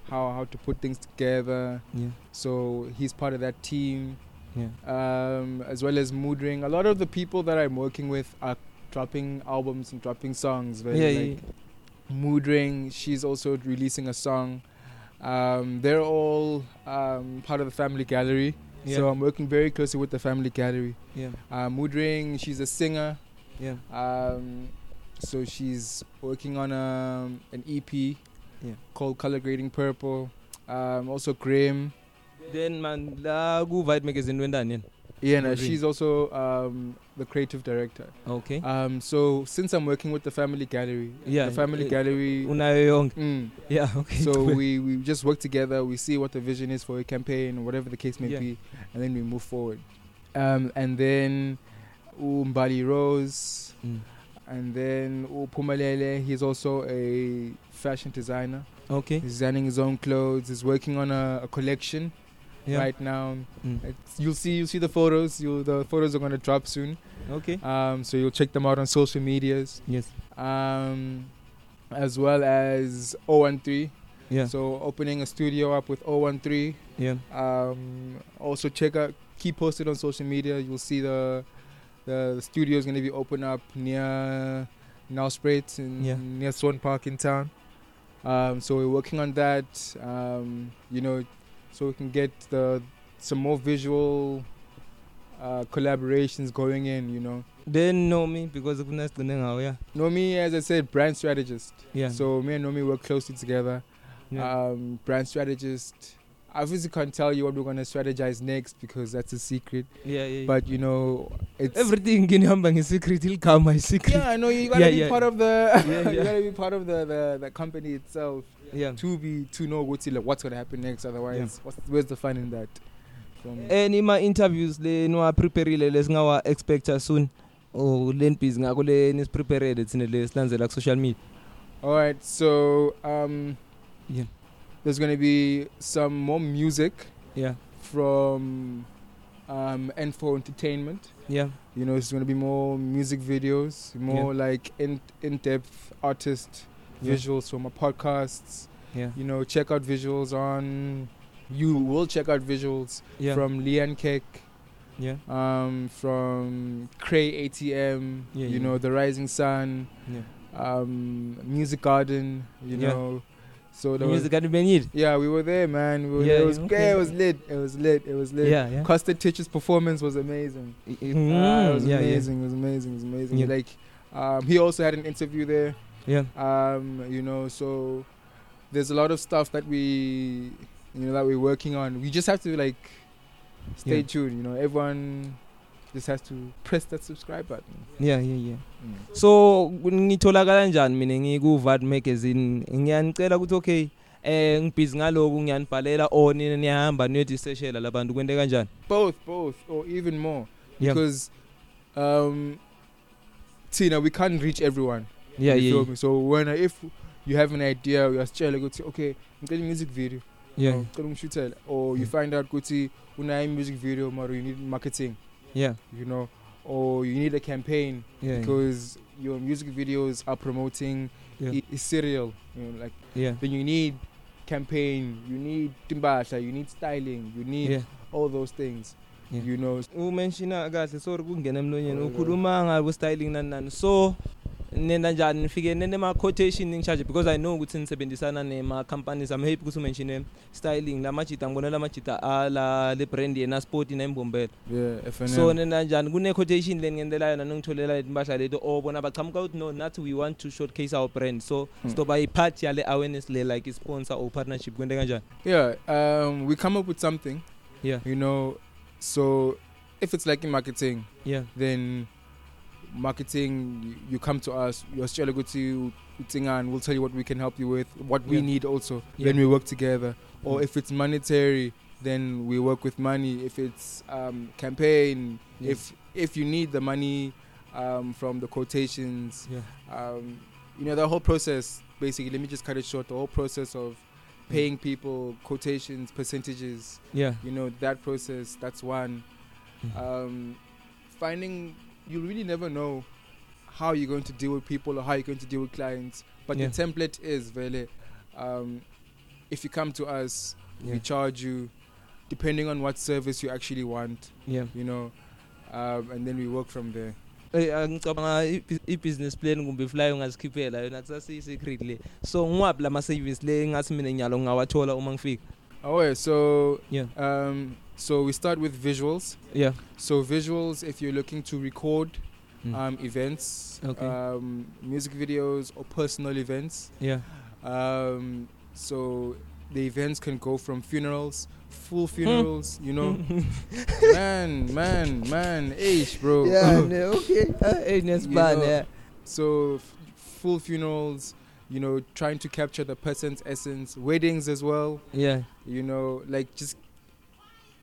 [SPEAKER 3] how how to put things together
[SPEAKER 2] yeah
[SPEAKER 3] so he's part of that team
[SPEAKER 2] yeah
[SPEAKER 3] um as well as mood ring a lot of the people that i'm working with are dropping albums and dropping songs very
[SPEAKER 2] yeah
[SPEAKER 3] like
[SPEAKER 2] yeah
[SPEAKER 3] mood ring she's also releasing a song um they're all um part of the family gallery so
[SPEAKER 2] yeah
[SPEAKER 3] i'm working very closely with the family gallery
[SPEAKER 2] yeah
[SPEAKER 3] uh, mood ring she's a singer
[SPEAKER 2] yeah
[SPEAKER 3] Um, so she's working on um, an EP
[SPEAKER 2] Yeah.
[SPEAKER 3] called Color Grading Purple. Um, also Graham.
[SPEAKER 2] then man la ku vite magazine wendani yena
[SPEAKER 3] Yeah, no,
[SPEAKER 2] Agree.
[SPEAKER 3] she's also um, the creative director.
[SPEAKER 2] okay
[SPEAKER 3] Um, so since I'm working with the Family Gallery, uh,
[SPEAKER 2] Yeah,
[SPEAKER 3] the Family
[SPEAKER 2] eh,
[SPEAKER 3] Gallery.
[SPEAKER 2] unayo yonke
[SPEAKER 3] Mm,
[SPEAKER 2] yeah okay
[SPEAKER 3] so we, we just work together. We see what the vision is for a campaign, or whatever the case may
[SPEAKER 2] Yeah.
[SPEAKER 3] be, and then we move forward. Um, and then Umbali Rose.
[SPEAKER 2] Mm.
[SPEAKER 3] And then Pumalele, he's also a fashion designer.
[SPEAKER 2] okay
[SPEAKER 3] He's designing his own clothes. He's working on a, a collection
[SPEAKER 2] yeah
[SPEAKER 3] right now.
[SPEAKER 2] Mm.
[SPEAKER 3] It's, you'll see, you'll see the photos. You the photos are gonna drop soon.
[SPEAKER 2] okay
[SPEAKER 3] Um, so you'll check them out on social medias,
[SPEAKER 2] yes
[SPEAKER 3] um, as well as 013.
[SPEAKER 2] yeah
[SPEAKER 3] So opening a studio up with 013.
[SPEAKER 2] yeah
[SPEAKER 3] Um, also check out, keep posted on social media. You'll see the the, the studio is gonna be open up near Nelspruit in
[SPEAKER 2] Yeah.
[SPEAKER 3] near Swan Park in town. Um, so we're working on that. Um, you know, so we can get the some more visual uh, collaborations going in. You know,
[SPEAKER 2] then know me because kufuna sigcine ngawo oh, yeah
[SPEAKER 3] Nomi, as I said, brand strategist.
[SPEAKER 2] yeah
[SPEAKER 3] So me and Nomi work closely together.
[SPEAKER 2] yeah.
[SPEAKER 3] um, brand strategist. I obviously can't tell you what we're gonna strategize next because that's a secret.
[SPEAKER 2] yeah, yeah, yeah.
[SPEAKER 3] But you know, it's
[SPEAKER 2] everything nginihamba nge-secret iligama i-secret
[SPEAKER 3] yeah. I know you gotta
[SPEAKER 2] Yeah,
[SPEAKER 3] be
[SPEAKER 2] yeah.
[SPEAKER 3] part of the
[SPEAKER 2] Yeah, yeah.
[SPEAKER 3] you gotta be part of the, the, the company itself
[SPEAKER 2] yeah.
[SPEAKER 3] to be to know what's like, what's gonna happen next. Otherwise, what's, where's the fun in that? From,
[SPEAKER 2] and ima-interviews le niwapreparile lesingawa-expecta soon or le nibhizi ngako le nisipreparele thine le silandzela ku-social media
[SPEAKER 3] all right, so um,
[SPEAKER 2] Yeah.
[SPEAKER 3] there's gonna be some more music
[SPEAKER 2] yeah
[SPEAKER 3] from um, N4 Entertainment.
[SPEAKER 2] yeah
[SPEAKER 3] you know it's going to be more music videos more like in in-depth artist
[SPEAKER 2] Yeah.
[SPEAKER 3] visuals from our podcasts
[SPEAKER 2] yeah
[SPEAKER 3] you know check out visuals on you will check out visuals
[SPEAKER 2] yeah
[SPEAKER 3] from Leanne Keck
[SPEAKER 2] yeah
[SPEAKER 3] um, from Cray ATM
[SPEAKER 2] Yeah, yeah.
[SPEAKER 3] you know the rising sun
[SPEAKER 2] yeah
[SPEAKER 3] um, music garden you
[SPEAKER 2] Yeah.
[SPEAKER 3] know So there was,
[SPEAKER 2] music anibenyile
[SPEAKER 3] yeah, we were there, man. We were
[SPEAKER 2] Yeah,
[SPEAKER 3] there. It was
[SPEAKER 2] okay.
[SPEAKER 3] great. It was lit. It was lit. It was lit.
[SPEAKER 2] yeah yeah
[SPEAKER 3] Costa Teacher's performance was amazing.
[SPEAKER 2] Mm,
[SPEAKER 3] Ah, it was
[SPEAKER 2] yeah, yeah.
[SPEAKER 3] amazing. It was amazing. It was amazing.
[SPEAKER 2] Yeah.
[SPEAKER 3] Like, um, he also had an interview there.
[SPEAKER 2] yeah
[SPEAKER 3] Um, you know, so there's a lot of stuff that we, you know, that we're working on. We just have to like stay
[SPEAKER 2] Yeah.
[SPEAKER 3] tuned. You know, everyone just has to press that subscribe button.
[SPEAKER 2] yeah yeah yeah so ngitholakala kanjani mina ngiku-vad magazine ngiyanicela ukuthi okay eh ngibhizi ngaloku ngiyanibhalela or nina niyahamba niyodiseshela labantu kwente kanjani
[SPEAKER 3] Both, both, or even more,
[SPEAKER 2] Yeah.
[SPEAKER 3] because um, Tina, we can't reach everyone.
[SPEAKER 2] yeah
[SPEAKER 3] you feel
[SPEAKER 2] yeah
[SPEAKER 3] me? So when I- if you have an idea, uyasitshela ukuthi okay, ngicela music video.
[SPEAKER 2] yeah
[SPEAKER 3] Or ngicela ungishutele or you
[SPEAKER 2] Mm.
[SPEAKER 3] find out ukuthi unayo music video mara you need marketing,
[SPEAKER 2] yeah
[SPEAKER 3] you know, or you need a campaign
[SPEAKER 2] yeah yeah
[SPEAKER 3] because your music videos are promoting
[SPEAKER 2] Yeah.
[SPEAKER 3] i- i- cereal, you know, like
[SPEAKER 2] yeah
[SPEAKER 3] then you need campaign, you need timbasha, you need styling, you need
[SPEAKER 2] yeah
[SPEAKER 3] all those things.
[SPEAKER 2] Yeah.
[SPEAKER 3] You know,
[SPEAKER 2] umenshina kahle sorry kungena emlonyeni ukhuluma ngabo styling nani nani so nenda njani nifike nene ma quotation ngishaje because i know ukuthi nisebenzisana nema companies i'm happy ukuthi umenshine styling lamajita ngibona lamajita ala le brand yena sport na imbombela
[SPEAKER 3] yeah, FNM.
[SPEAKER 2] so nena njani kune quotation le ngiyendela yona ningitholela impahla leto or bona bachamuka ukuthi no nathi we want to showcase our brand so
[SPEAKER 3] Hmm.
[SPEAKER 2] sizoba yipart yale awareness le like i-sponsor or partnership kwente kanjani
[SPEAKER 3] yeah, um, we come up with something,
[SPEAKER 2] yeah
[SPEAKER 3] you know, so if it's like in marketing,
[SPEAKER 2] yeah
[SPEAKER 3] then marketing you, you come to us you're still good to and we'll tell you what we can help you with what we
[SPEAKER 2] Yeah.
[SPEAKER 3] need also
[SPEAKER 2] Yeah.
[SPEAKER 3] then we work together or
[SPEAKER 2] Mm.
[SPEAKER 3] if it's monetary then we work with money if it's um, campaign
[SPEAKER 2] Yeah.
[SPEAKER 3] if if you need the money um, from the quotations
[SPEAKER 2] yeah
[SPEAKER 3] um, you know the whole process basically let me just cut it short the whole process of
[SPEAKER 2] Mm.
[SPEAKER 3] paying people quotations percentages
[SPEAKER 2] yeah
[SPEAKER 3] you know that process that's one
[SPEAKER 2] Mhm.
[SPEAKER 3] um, finding you really never know how you're going to deal with people or how you're going to deal with clients but
[SPEAKER 2] Yeah.
[SPEAKER 3] the template is really um, if you come to us
[SPEAKER 2] yeah
[SPEAKER 3] we charge you depending on what service you actually want
[SPEAKER 2] yeah
[SPEAKER 3] you know um, and then we work from there
[SPEAKER 2] Eh, ah, ngicabanga i- i-business plan kumbe ifly ungazikhiphela yona kusasiyi-secret le so ngiwaphi lama-service le ngathi mina nyalo ngingawathola uma ngifika
[SPEAKER 3] oh yeah so
[SPEAKER 2] Yeah.
[SPEAKER 3] um, so we start with visuals
[SPEAKER 2] yeah
[SPEAKER 3] so visuals if you're looking to record
[SPEAKER 2] Mm.
[SPEAKER 3] um, events
[SPEAKER 2] Okay.
[SPEAKER 3] um, music videos or personal events
[SPEAKER 2] yeah
[SPEAKER 3] Um, so the events can go from funerals, full funerals, you know.
[SPEAKER 2] Hmm.
[SPEAKER 3] man, man, man, age, bro.
[SPEAKER 2] okay eyi
[SPEAKER 3] You
[SPEAKER 2] nesibane
[SPEAKER 3] know,
[SPEAKER 2] yeah
[SPEAKER 3] so f- full funerals, you know, trying to capture the person's essence. Weddings as well,
[SPEAKER 2] yeah
[SPEAKER 3] you know, like just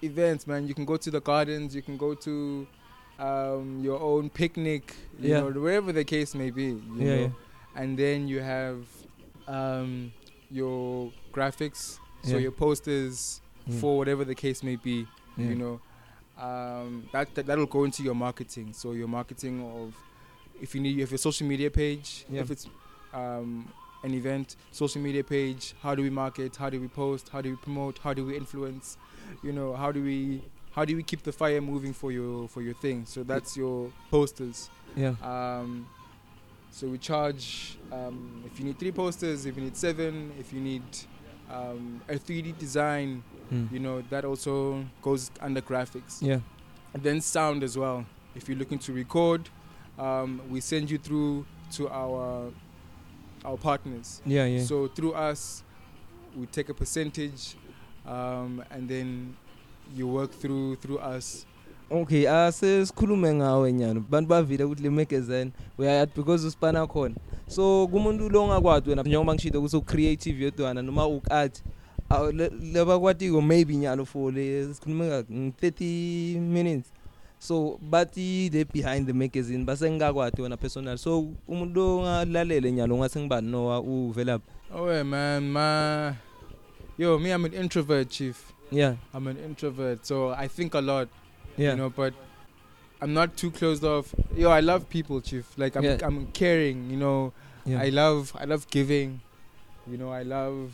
[SPEAKER 3] events, man. You can go to the gardens, you can go to um, your own picnic, you
[SPEAKER 2] Yeah.
[SPEAKER 3] know, wherever the case may be. You
[SPEAKER 2] Yeah,
[SPEAKER 3] know?
[SPEAKER 2] yeah.
[SPEAKER 3] And then you have um, your graphics, so
[SPEAKER 2] Yeah.
[SPEAKER 3] your posters
[SPEAKER 2] Yeah.
[SPEAKER 3] for whatever the case may be,
[SPEAKER 2] Mm. Yeah.
[SPEAKER 3] you know. Um, that, that that'll go into your marketing. So your marketing of if you need you have your social media page,
[SPEAKER 2] Yeah.
[SPEAKER 3] if it's um, an event, social media page, how do we market, how do we post, how do we promote, how do we influence, you know, how do we how do we keep the fire moving for your for your thing? So that's your posters.
[SPEAKER 2] yeah
[SPEAKER 3] Um, so we charge um, if you need three posters, if you need seven, if you need um, a 3D design,
[SPEAKER 2] Mm.
[SPEAKER 3] you know, that also goes under graphics.
[SPEAKER 2] yeah
[SPEAKER 3] And then sound as well. If you're looking to record, um, we send you through to our our partners.
[SPEAKER 2] yeah yeah
[SPEAKER 3] So through us, we take a percentage, um, and then you work through through us.
[SPEAKER 2] okay ase sikhulume ngawe nyana bantu bavile ukuthi le magazine uyayathi because usipana khona so kumuntu lo ongakwadi wena njengoba ngishito ukuthi ucreative yodwana noma ukat labakwatiko maybe nyalo for le sikhulume nge-30 minutes so bathi le behind the magazine base ngingakwadi wona personal so umuntu lo ongalalele nyalo ungathi ngibani nowa uvelaphi
[SPEAKER 3] Oh yeah, man, my yo, me, I'm an introvert, chief.
[SPEAKER 2] yeah
[SPEAKER 3] I'm an introvert, so I think a lot,
[SPEAKER 2] yeah
[SPEAKER 3] you know, but I'm not too closed off. Yo, I love people, chief. Like I'm,
[SPEAKER 2] Yeah.
[SPEAKER 3] I'm caring, you know.
[SPEAKER 2] yeah.
[SPEAKER 3] I love, I love giving, you know. I love.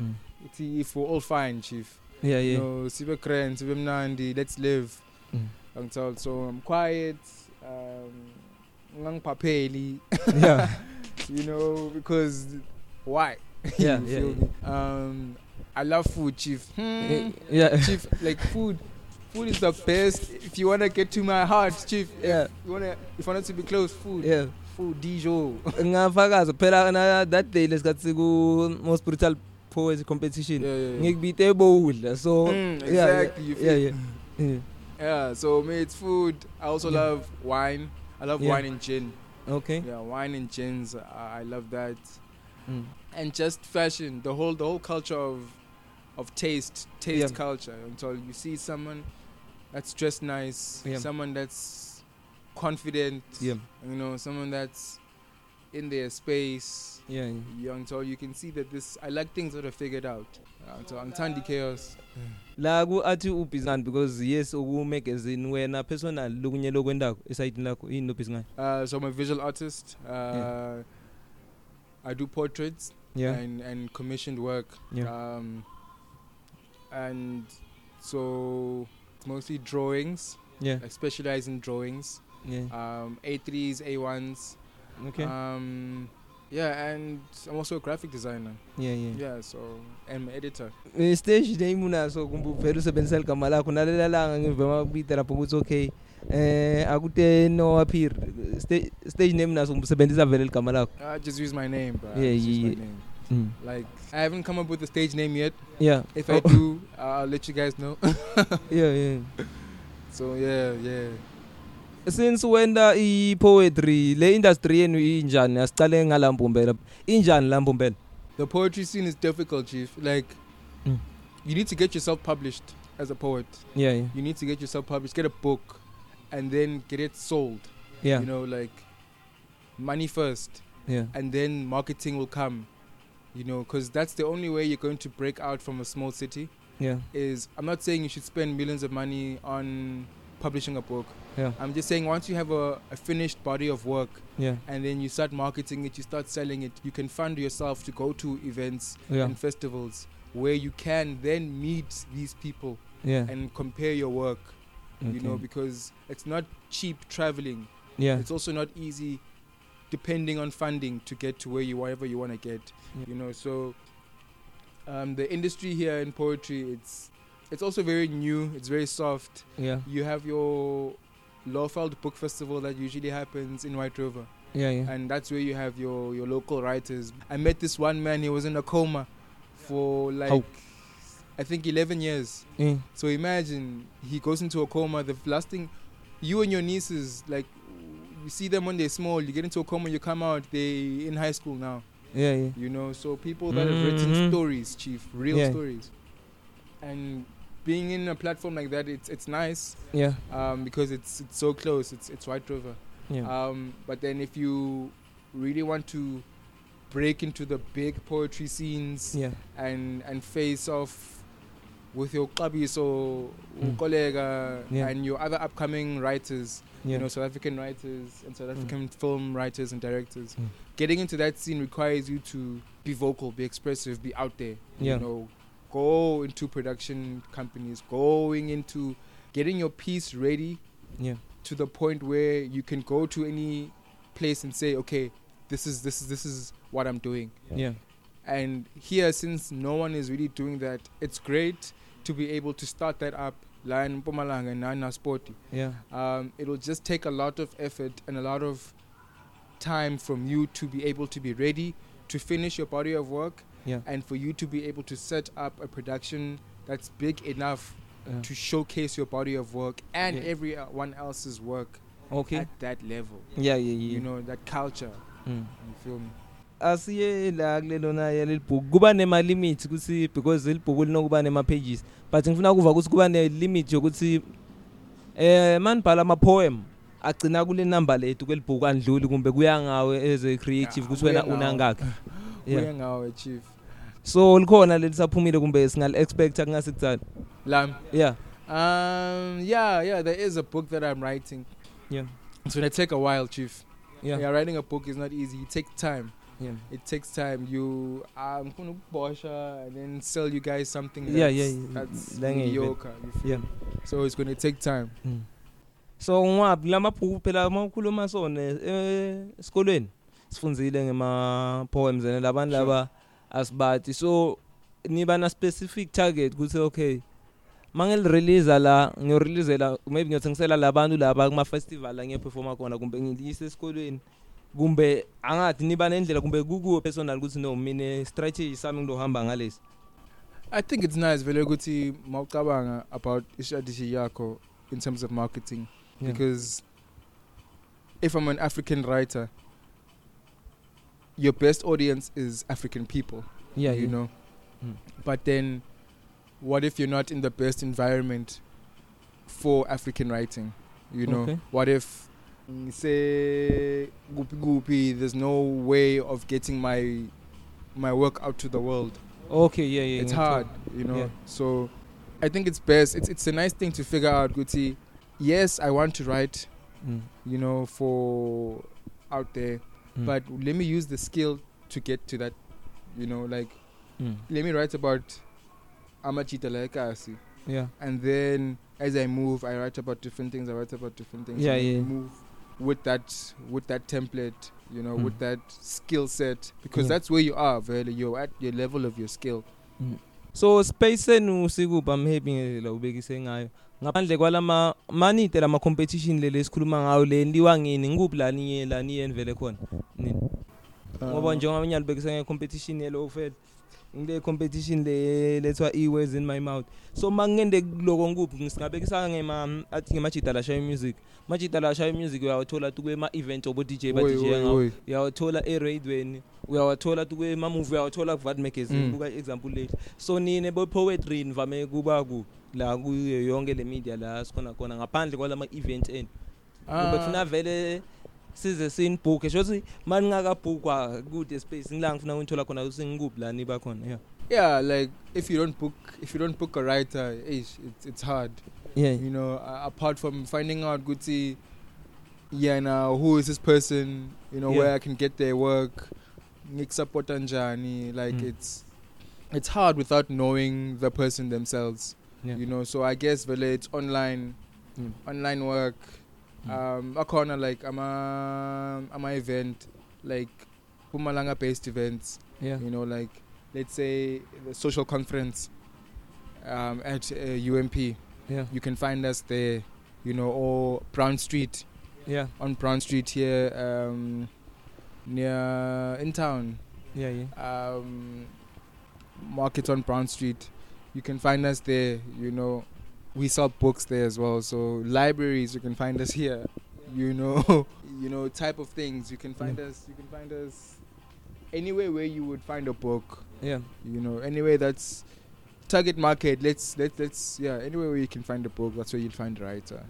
[SPEAKER 2] Mm.
[SPEAKER 3] See, if we're all fine, chief.
[SPEAKER 2] yeah
[SPEAKER 3] You
[SPEAKER 2] yeah
[SPEAKER 3] know, sibe kren, sibe mnandi, let's live.
[SPEAKER 2] Mm.
[SPEAKER 3] I'm told. So I'm quiet. Um, ngangiphapheli,
[SPEAKER 2] yeah
[SPEAKER 3] you know, because why?
[SPEAKER 2] Yeah,
[SPEAKER 3] You
[SPEAKER 2] yeah,
[SPEAKER 3] feel me? Um, I love food, chief. Hmm.
[SPEAKER 2] yeah
[SPEAKER 3] chief, like food. Food is the best. If you wanna get to my heart, chief.
[SPEAKER 2] Yeah.
[SPEAKER 3] If you wanna, if you want to be close, food.
[SPEAKER 2] yeah
[SPEAKER 3] Food, Dijon.
[SPEAKER 2] ngafakaza phela na- that day lesikhathi ku-most brutal poet competition
[SPEAKER 3] Yeah, yeah, yeah.
[SPEAKER 2] ngikubite bowudla so
[SPEAKER 3] Mm,
[SPEAKER 2] yeah, yeah,
[SPEAKER 3] exactly, you
[SPEAKER 2] yeah,
[SPEAKER 3] feel-
[SPEAKER 2] yeah. Mm, Yeah.
[SPEAKER 3] Yeah, so me, it's food. I also
[SPEAKER 2] Yeah.
[SPEAKER 3] love wine. I love
[SPEAKER 2] Yeah.
[SPEAKER 3] wine and gin.
[SPEAKER 2] okay
[SPEAKER 3] Yeah, wine and gins. I, I love that.
[SPEAKER 2] Mm.
[SPEAKER 3] And just fashion, the whole the whole culture of of taste, taste
[SPEAKER 2] Yeah.
[SPEAKER 3] culture. Until you see someone that's dressed nice,
[SPEAKER 2] Yeah.
[SPEAKER 3] someone that's confident,
[SPEAKER 2] yeah
[SPEAKER 3] you know, someone that's in their space.
[SPEAKER 2] yeah yeah.
[SPEAKER 3] Yeah, until you can see that this, I like things that are figured out. Yeah, Until I'm Tandy Chaos.
[SPEAKER 2] la ku-athi ubhizinani because yes ukumagazini wena personal lokunye lokwendako esayitini lakho yini lobhizi ngayo
[SPEAKER 3] Uh, so I'm a visual artist. Uh,
[SPEAKER 2] Yeah.
[SPEAKER 3] I do portraits
[SPEAKER 2] yeah
[SPEAKER 3] and, and commissioned work.
[SPEAKER 2] yeah
[SPEAKER 3] Um, and so it's mostly drawings.
[SPEAKER 2] yeah
[SPEAKER 3] I specialize in drawings.
[SPEAKER 2] yeah
[SPEAKER 3] Um, A3s, A1s.
[SPEAKER 2] okay
[SPEAKER 3] Um, yeah, and I'm also a graphic designer.
[SPEAKER 2] yeah yeah
[SPEAKER 3] Yeah, so I'm an editor.
[SPEAKER 2] Eh, stage name unaso kumbe uvele usebenzisa ligama lakho nalela langa ngivema kubita lapho ukuthi okay eh akute no appear Sta- stage name unaso kumbe usebenzisa vele ligama lakho
[SPEAKER 3] I just use my name, but
[SPEAKER 2] Yeah,
[SPEAKER 3] yeah, just
[SPEAKER 2] yeah,
[SPEAKER 3] my
[SPEAKER 2] yeah.
[SPEAKER 3] name.
[SPEAKER 2] Mm.
[SPEAKER 3] Like I haven't come up with a stage name yet.
[SPEAKER 2] yeah
[SPEAKER 3] If I
[SPEAKER 2] Oh,
[SPEAKER 3] do, I'll let you guys know.
[SPEAKER 2] yeah yeah
[SPEAKER 3] so yeah, yeah.
[SPEAKER 2] since wenda i-poetry le industry yenu injani asiqale ngala mbumbela injani la mbumbela
[SPEAKER 3] The poetry scene is difficult, chief. Like
[SPEAKER 2] Mm.
[SPEAKER 3] you need to get yourself published as a poet.
[SPEAKER 2] yeah yeah
[SPEAKER 3] You need to get yourself published, get a book, and then get it sold.
[SPEAKER 2] yeah
[SPEAKER 3] You know, like money first,
[SPEAKER 2] yeah
[SPEAKER 3] and then marketing will come. You know, because that's the only way you're going to break out from a small city.
[SPEAKER 2] yeah
[SPEAKER 3] Is I'm not saying you should spend millions of money on publishing a book.
[SPEAKER 2] yeah
[SPEAKER 3] I'm just saying once you have a, a finished body of work
[SPEAKER 2] yeah
[SPEAKER 3] and then you start marketing it, you start selling it, you can fund yourself to go to events
[SPEAKER 2] yeah
[SPEAKER 3] and festivals where you can then meet these people
[SPEAKER 2] yeah
[SPEAKER 3] and compare your work. You know,
[SPEAKER 2] Okay.
[SPEAKER 3] because it's not cheap traveling.
[SPEAKER 2] yeah
[SPEAKER 3] It's also not easy depending on funding to get to where you wherever you want to get.
[SPEAKER 2] Yeah.
[SPEAKER 3] You know, so um, the industry here in poetry it's it's also very new, it's very soft.
[SPEAKER 2] yeah
[SPEAKER 3] You have your Lawfeld Book Festival that usually happens in White River,
[SPEAKER 2] yeah yeah
[SPEAKER 3] and that's where you have your, your local writers. I met this one man, he was in a coma for like,
[SPEAKER 2] How?
[SPEAKER 3] I think 11 years.
[SPEAKER 2] Eh,
[SPEAKER 3] So imagine he goes into a coma. The last thing, you and your nieces, like, you see them when they're small, you get into a coma, you come out, they in high school now,
[SPEAKER 2] yeah yeah
[SPEAKER 3] you know. So people that have written
[SPEAKER 2] Mhm.
[SPEAKER 3] stories, Chief, real
[SPEAKER 2] Yeah.
[SPEAKER 3] stories. And being in a platform like that, it's, it's nice
[SPEAKER 2] yeah
[SPEAKER 3] um, because it's it's so close. It's it's White River.
[SPEAKER 2] yeah
[SPEAKER 3] Um, but then if you really want to break into the big poetry scenes
[SPEAKER 2] yeah
[SPEAKER 3] and and face off with your clubbies or
[SPEAKER 2] Mm.
[SPEAKER 3] colleague
[SPEAKER 2] Yeah.
[SPEAKER 3] and your other upcoming writers, you know,
[SPEAKER 2] yeah
[SPEAKER 3] South African writers and South
[SPEAKER 2] Mm.
[SPEAKER 3] African film writers and directors.
[SPEAKER 2] Mm.
[SPEAKER 3] Getting into that scene requires you to be vocal, be expressive, be out there.
[SPEAKER 2] Yeah.
[SPEAKER 3] You know, go into production companies, going into getting your piece ready
[SPEAKER 2] yeah
[SPEAKER 3] to the point where you can go to any place and say, okay, this is this is this is what I'm doing.
[SPEAKER 2] yeah
[SPEAKER 3] And here, since no one is really doing that, it's great to be able to start that up. La in Mpumalanga and Nana Sporty.
[SPEAKER 2] yeah
[SPEAKER 3] Um, it'll just take a lot of effort and a lot of time from you to be able to be ready to finish your body of work
[SPEAKER 2] Yeah.
[SPEAKER 3] and for you to be able to set up a production that's big enough
[SPEAKER 2] yeah.
[SPEAKER 3] to showcase your body of work and
[SPEAKER 2] Yeah.
[SPEAKER 3] everyone else's work
[SPEAKER 2] okay
[SPEAKER 3] at that level.
[SPEAKER 2] yeah yeah yeah
[SPEAKER 3] You know, that culture.
[SPEAKER 2] Mm.
[SPEAKER 3] You feel me?
[SPEAKER 2] asiye la kulelona yaleli bhuku kuba nema-limit kuthi because leli bhuku linokuba nema-pages but ngifuna kuva ukuthi kuba ne-limit yokuthi um manibhala ama-poem agcina kule number lethu kweli bhuku andluli kumbe kuya ngawe as a creative
[SPEAKER 3] Ah,
[SPEAKER 2] ukuthi wena
[SPEAKER 3] kuya ngawe.
[SPEAKER 2] unangakhi yeah
[SPEAKER 3] We're now achieve.
[SPEAKER 2] so likhona lelisaphumile kumbe singali-expecta kungasikutsani
[SPEAKER 3] Lam.
[SPEAKER 2] yeah
[SPEAKER 3] Um, yeah, yeah, there is a book that I'm writing.
[SPEAKER 2] yeah
[SPEAKER 3] It's gonna take a while, Chief. Yeah.
[SPEAKER 2] yeah
[SPEAKER 3] writing a book is not easy. It takes time.
[SPEAKER 2] yeah
[SPEAKER 3] It takes time. You, I'm gonna bosh uh, and then sell you guys something. That's,
[SPEAKER 2] Yeah, yeah, yeah.
[SPEAKER 3] That's
[SPEAKER 2] Lang-
[SPEAKER 3] mediocre. You feel?
[SPEAKER 2] yeah
[SPEAKER 3] So it's gonna take time.
[SPEAKER 2] Mm. so ngwabi lamabhuku phela mawukhuluma sona eh, esikolweni sifunzile ngema poems and labantu
[SPEAKER 3] Sure.
[SPEAKER 2] laba asibathi so niba na specific target ukuthi okay mangilireleasa la ngiyoreleasela maybe ngiyothengisela labantu laba kuma-festival la ngiyophefoma khona kumbe ngiliyise esikolweni kumbe angathi niba nendlela kumbe kukuwo personal ukuthi no mine strategy sami ngilohamba ngalesi
[SPEAKER 3] I think it's nice vele ukuthi mawucabanga about istrategy yakho in terms of marketing
[SPEAKER 2] Yeah.
[SPEAKER 3] because if I'm an African writer your best audience is African people
[SPEAKER 2] yeah,
[SPEAKER 3] you
[SPEAKER 2] yeah.
[SPEAKER 3] know
[SPEAKER 2] Mm.
[SPEAKER 3] but then what if you're not in the best environment for African writing you know
[SPEAKER 2] Okay.
[SPEAKER 3] what if mm, say goopy goopy there's no way of getting my my work out to the world
[SPEAKER 2] okay yeah, yeah
[SPEAKER 3] it's
[SPEAKER 2] ngiyathola.
[SPEAKER 3] hard, you know.
[SPEAKER 2] Yeah.
[SPEAKER 3] So I think it's best. It's it's a nice thing to figure out. Guti, yes, I want to write,
[SPEAKER 2] Mm,
[SPEAKER 3] you know, for out there,
[SPEAKER 2] mm,
[SPEAKER 3] but let me use the skill to get to that, you know, like
[SPEAKER 2] mm.
[SPEAKER 3] let me write about Amachita Laikasi,
[SPEAKER 2] yeah
[SPEAKER 3] and then as I move, I write about different things. I write about different things.
[SPEAKER 2] Yeah,
[SPEAKER 3] and then
[SPEAKER 2] yeah.
[SPEAKER 3] Move with that with that template, you know, with
[SPEAKER 2] Mm.
[SPEAKER 3] that skill set, because
[SPEAKER 2] Yeah.
[SPEAKER 3] that's where you are. Really, you're at your level of your skill.
[SPEAKER 2] so space senu sikuba mhebi ngendlela ubekise ngayo ngaphandle kwalama manite lama competition leli esikhuluma ngayo le liwa ngini ngikuphi la niye la niye nivele khona nini ngoba
[SPEAKER 3] Um,
[SPEAKER 2] njengoba mina libekise nge-competition yelo-fed ngile competition le lethwa e-words in my mouth so ma ngende kuloko ngikuphi ngisingabekisanga ngema- athi ngemajida lashaya music majida lashaya music uyawathola tukema-event obo-dj
[SPEAKER 3] Oi,
[SPEAKER 2] ba-dj
[SPEAKER 3] oi,
[SPEAKER 2] ngawo
[SPEAKER 3] oi.
[SPEAKER 2] uyawathola eradweni uyawathola tukema-movie uyawathola kuvad magazine
[SPEAKER 3] Mm.
[SPEAKER 2] buka example lethu so nine bo-poetry nivame kuba ku la kuyo yonke le media la sikhona khona ngaphandle kwalama-event enu
[SPEAKER 3] Ah.
[SPEAKER 2] kumbe kufuna vele size sinibhukhe sho kuthi ma ningakabhukwa kude space ngila ngifuna kunithola khona ukuthi ngikuphi la niba khona yeah.
[SPEAKER 3] yeah like if you don't book if you don't book a writer ish, it's, it's hard you know uh, apart from finding out guti yeah now who is this person you know
[SPEAKER 2] Yeah.
[SPEAKER 3] where i can get their work nick support and journey like
[SPEAKER 2] Mm.
[SPEAKER 3] it's it's hard without knowing the person themselves
[SPEAKER 2] Yeah.
[SPEAKER 3] you know so i guess vele it's online
[SPEAKER 2] Mm.
[SPEAKER 3] online work
[SPEAKER 2] Mm.
[SPEAKER 3] um akhona like ama ama event like pumalanga based events
[SPEAKER 2] yeah.
[SPEAKER 3] you know like let's say the social conference um, at uh, UMP
[SPEAKER 2] yeah.
[SPEAKER 3] you can find us there you know or Brown Street
[SPEAKER 2] yeah.
[SPEAKER 3] on Brown Street here um, near in town
[SPEAKER 2] yeah. yeah.
[SPEAKER 3] um, market on Brown Street you can find us there you know we sell books there as well so libraries you can find us here you know you know type of things you can find us you can find us anywhere where you would find a book
[SPEAKER 2] yeah.
[SPEAKER 3] you know anyway that's target market let's let, let's yeah anywhere where you can find a book that's where you'll find a writer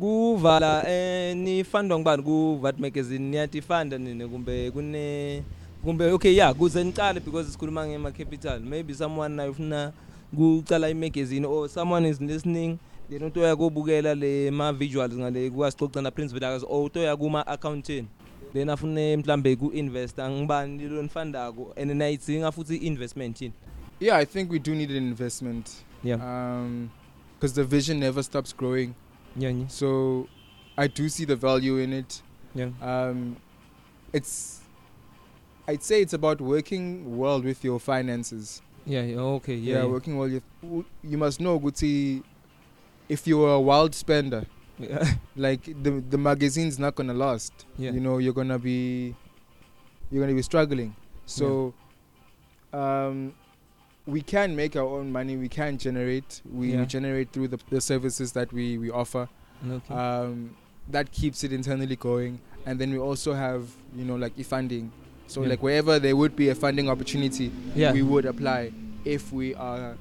[SPEAKER 2] kuvala eh nifandwa ngubani kuvat magazine niyatifanda nini kumbe kune kumbe okay yeah kuze niqale because sikhuluma ngema capital maybe someone naye ufuna kucala imagazine or someone is listening then utoya kubukela le ma visuals ngale kwasixoxa na Prince Vilakazi or utoya kuma accounting then afune mhlambe ku invest ngibani lo nifandako and nayidzinga futhi investment yini
[SPEAKER 3] yeah i think we do need an investment
[SPEAKER 2] yeah
[SPEAKER 3] um because the vision never stops growing
[SPEAKER 2] yeah yeah
[SPEAKER 3] so i do see the value in it
[SPEAKER 2] yeah
[SPEAKER 3] um it's i'd say it's about working well with your finances
[SPEAKER 2] yeah, yeah okay
[SPEAKER 3] yeah,
[SPEAKER 2] yeah
[SPEAKER 3] working well with, you must know guti if you're a wild spender
[SPEAKER 2] yeah
[SPEAKER 3] like the the magazine's not gonna last.
[SPEAKER 2] Yeah.
[SPEAKER 3] You know, you're gonna be you're gonna be struggling. So um we can make our own money, we can generate. We,
[SPEAKER 2] Yeah.
[SPEAKER 3] we generate through the, the services that we, we offer.
[SPEAKER 2] okay
[SPEAKER 3] Um that keeps it internally going. And then we also have, you know, like e funding. So
[SPEAKER 2] Yeah.
[SPEAKER 3] like wherever there would be a funding opportunity,
[SPEAKER 2] yeah
[SPEAKER 3] we would apply if we are,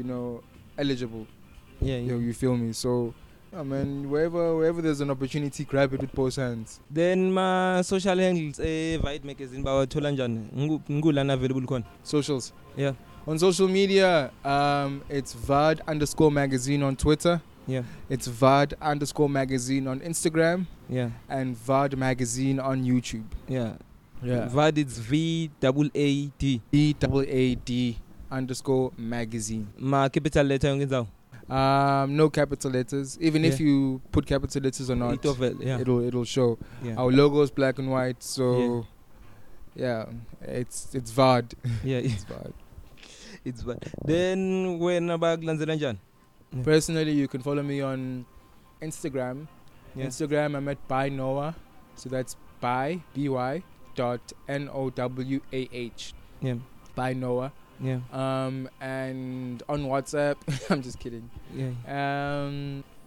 [SPEAKER 3] you know, eligible.
[SPEAKER 2] yeah
[SPEAKER 3] Yo,
[SPEAKER 2] yeah
[SPEAKER 3] you feel me? So, I mean, wherever wherever there's an opportunity, grab it with both hands.
[SPEAKER 2] then ma social handles evite magazine bawathola njani Ngu- ngulana available khona
[SPEAKER 3] Socials.
[SPEAKER 2] Yeah.
[SPEAKER 3] On social media, um, it's Vard underscore magazine on Twitter.
[SPEAKER 2] yeah
[SPEAKER 3] It's Vard underscore magazine on Instagram
[SPEAKER 2] yeah
[SPEAKER 3] and Vard magazine on YouTube.
[SPEAKER 2] yeah vad it's v double a d
[SPEAKER 3] E double A D underscore magazine.
[SPEAKER 2] ma capital letter yonke indzawo
[SPEAKER 3] Um, no capital letters. Even if
[SPEAKER 2] Yeah.
[SPEAKER 3] you put capital letters or not, Oh.
[SPEAKER 2] itovel yeah
[SPEAKER 3] it'll it'll show.
[SPEAKER 2] yeah
[SPEAKER 3] Our logo is black and white, so yeah, it's it's VAD.
[SPEAKER 2] yeah
[SPEAKER 3] It's VAD.
[SPEAKER 2] it's bad then wena bakulandzela njani
[SPEAKER 3] Personally, you can follow me on Instagram.
[SPEAKER 2] Yeah.
[SPEAKER 3] Instagram, I'm at by Noah. So that's by b y dot n o w a h
[SPEAKER 2] yeah
[SPEAKER 3] by Noah.
[SPEAKER 2] yeah
[SPEAKER 3] Um, and on WhatsApp, I'm just kidding.
[SPEAKER 2] yeah
[SPEAKER 3] Um,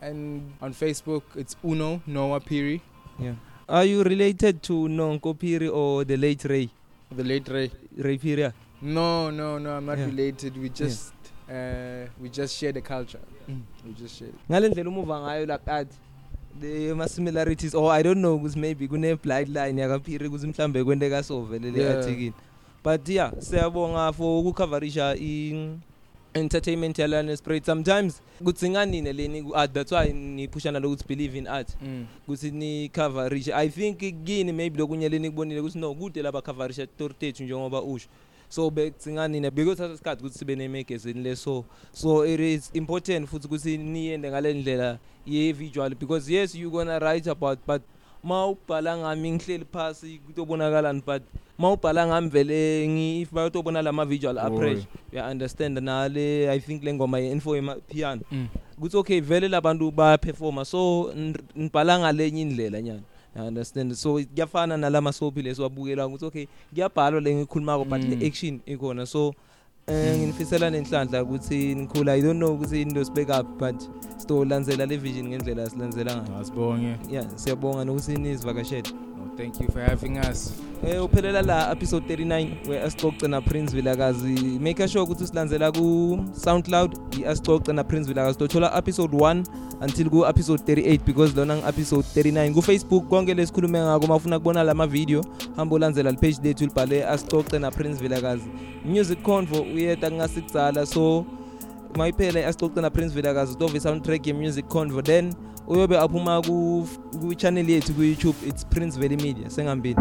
[SPEAKER 3] and on Facebook, it's Uno Noah Piri,
[SPEAKER 2] yeah are you related to Nonko Piri or the late Ray
[SPEAKER 3] the late Ray.
[SPEAKER 2] Ray Piri ah?
[SPEAKER 3] No, no, no, I'm not
[SPEAKER 2] Yeah.
[SPEAKER 3] related. We just uh, we just share the culture. We just share.
[SPEAKER 2] ngale ndlela umuva ngayo laqathi the ma-similarities or i don't know ukuthi maybe kune-blight line yakapiri ukuthi mhlawumbe kwenteka so vele le
[SPEAKER 3] Yeah.
[SPEAKER 2] article but yeah siyabonga for ukucoverisha i-entertainment yalana spread sometimes kudzinga nine leni ku-art that's why niphushana lokuthi believe in art
[SPEAKER 3] Mm.
[SPEAKER 2] ukuthi nicoverishe i think kini maybe lokunye lenikubonile ukuthi no kude labacoverisha tori tethu njengoba usho so bedzinga nina bekuyothatha isikhathi ukuthi sibe nemagazini leso so it is important futhi ukuthi niyende ngale ndlela ye-visual because yes you gonna write about but ma ubhala ngami ngihleli phasi kutobonakalani but ma ubhala ngami vele ngi- if bayotobona la ma-visual approach uya-understand nale i think le ngoma ye-info emapiano
[SPEAKER 3] Mm.
[SPEAKER 2] kuthi okay vele labantu bayaphefoma so n- nibhala ngalenye indlela nyana I understand so kuyafana nalamasophi lesiwabukelayo ukuthi okay kuyabhalwa le ngikhulumako but
[SPEAKER 3] Mm.
[SPEAKER 2] le-action ikhona so um nginifisela nenhlanhla ukuthi nikhula i don't know ukuthi into sibek up but sitolandzela le vision ngendlela silandzela ngayo ya siyabonga nokuthi nizivakashele
[SPEAKER 3] Well, thank you for having us.
[SPEAKER 2] Eh uphelela la episode 39 where asixoxe na Prince Vilakazi make sure ukuthi usilandzela ku SoundCloud iasixoxe na Prince Vilakazi uthola episode 1 until ku episode 38 because lona ngi episode 39 ku Facebook konke lesikhulume ngako mafuna kubona lama video hamba ulandzela le page lethu libhale asixoxe na Prince Vilakazi music convo uyeta ngasicala so mayiphele asixoxe na Prince Vilakazi utove soundtrack ye music convo then uyobe aphuma ku ku channel yethu ku YouTube it's Prince Valley Media sengambini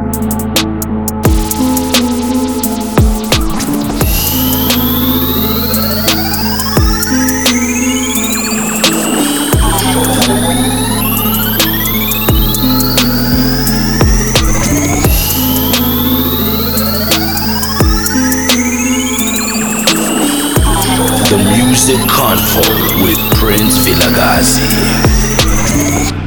[SPEAKER 1] The Music Convo with Prince Villagazi.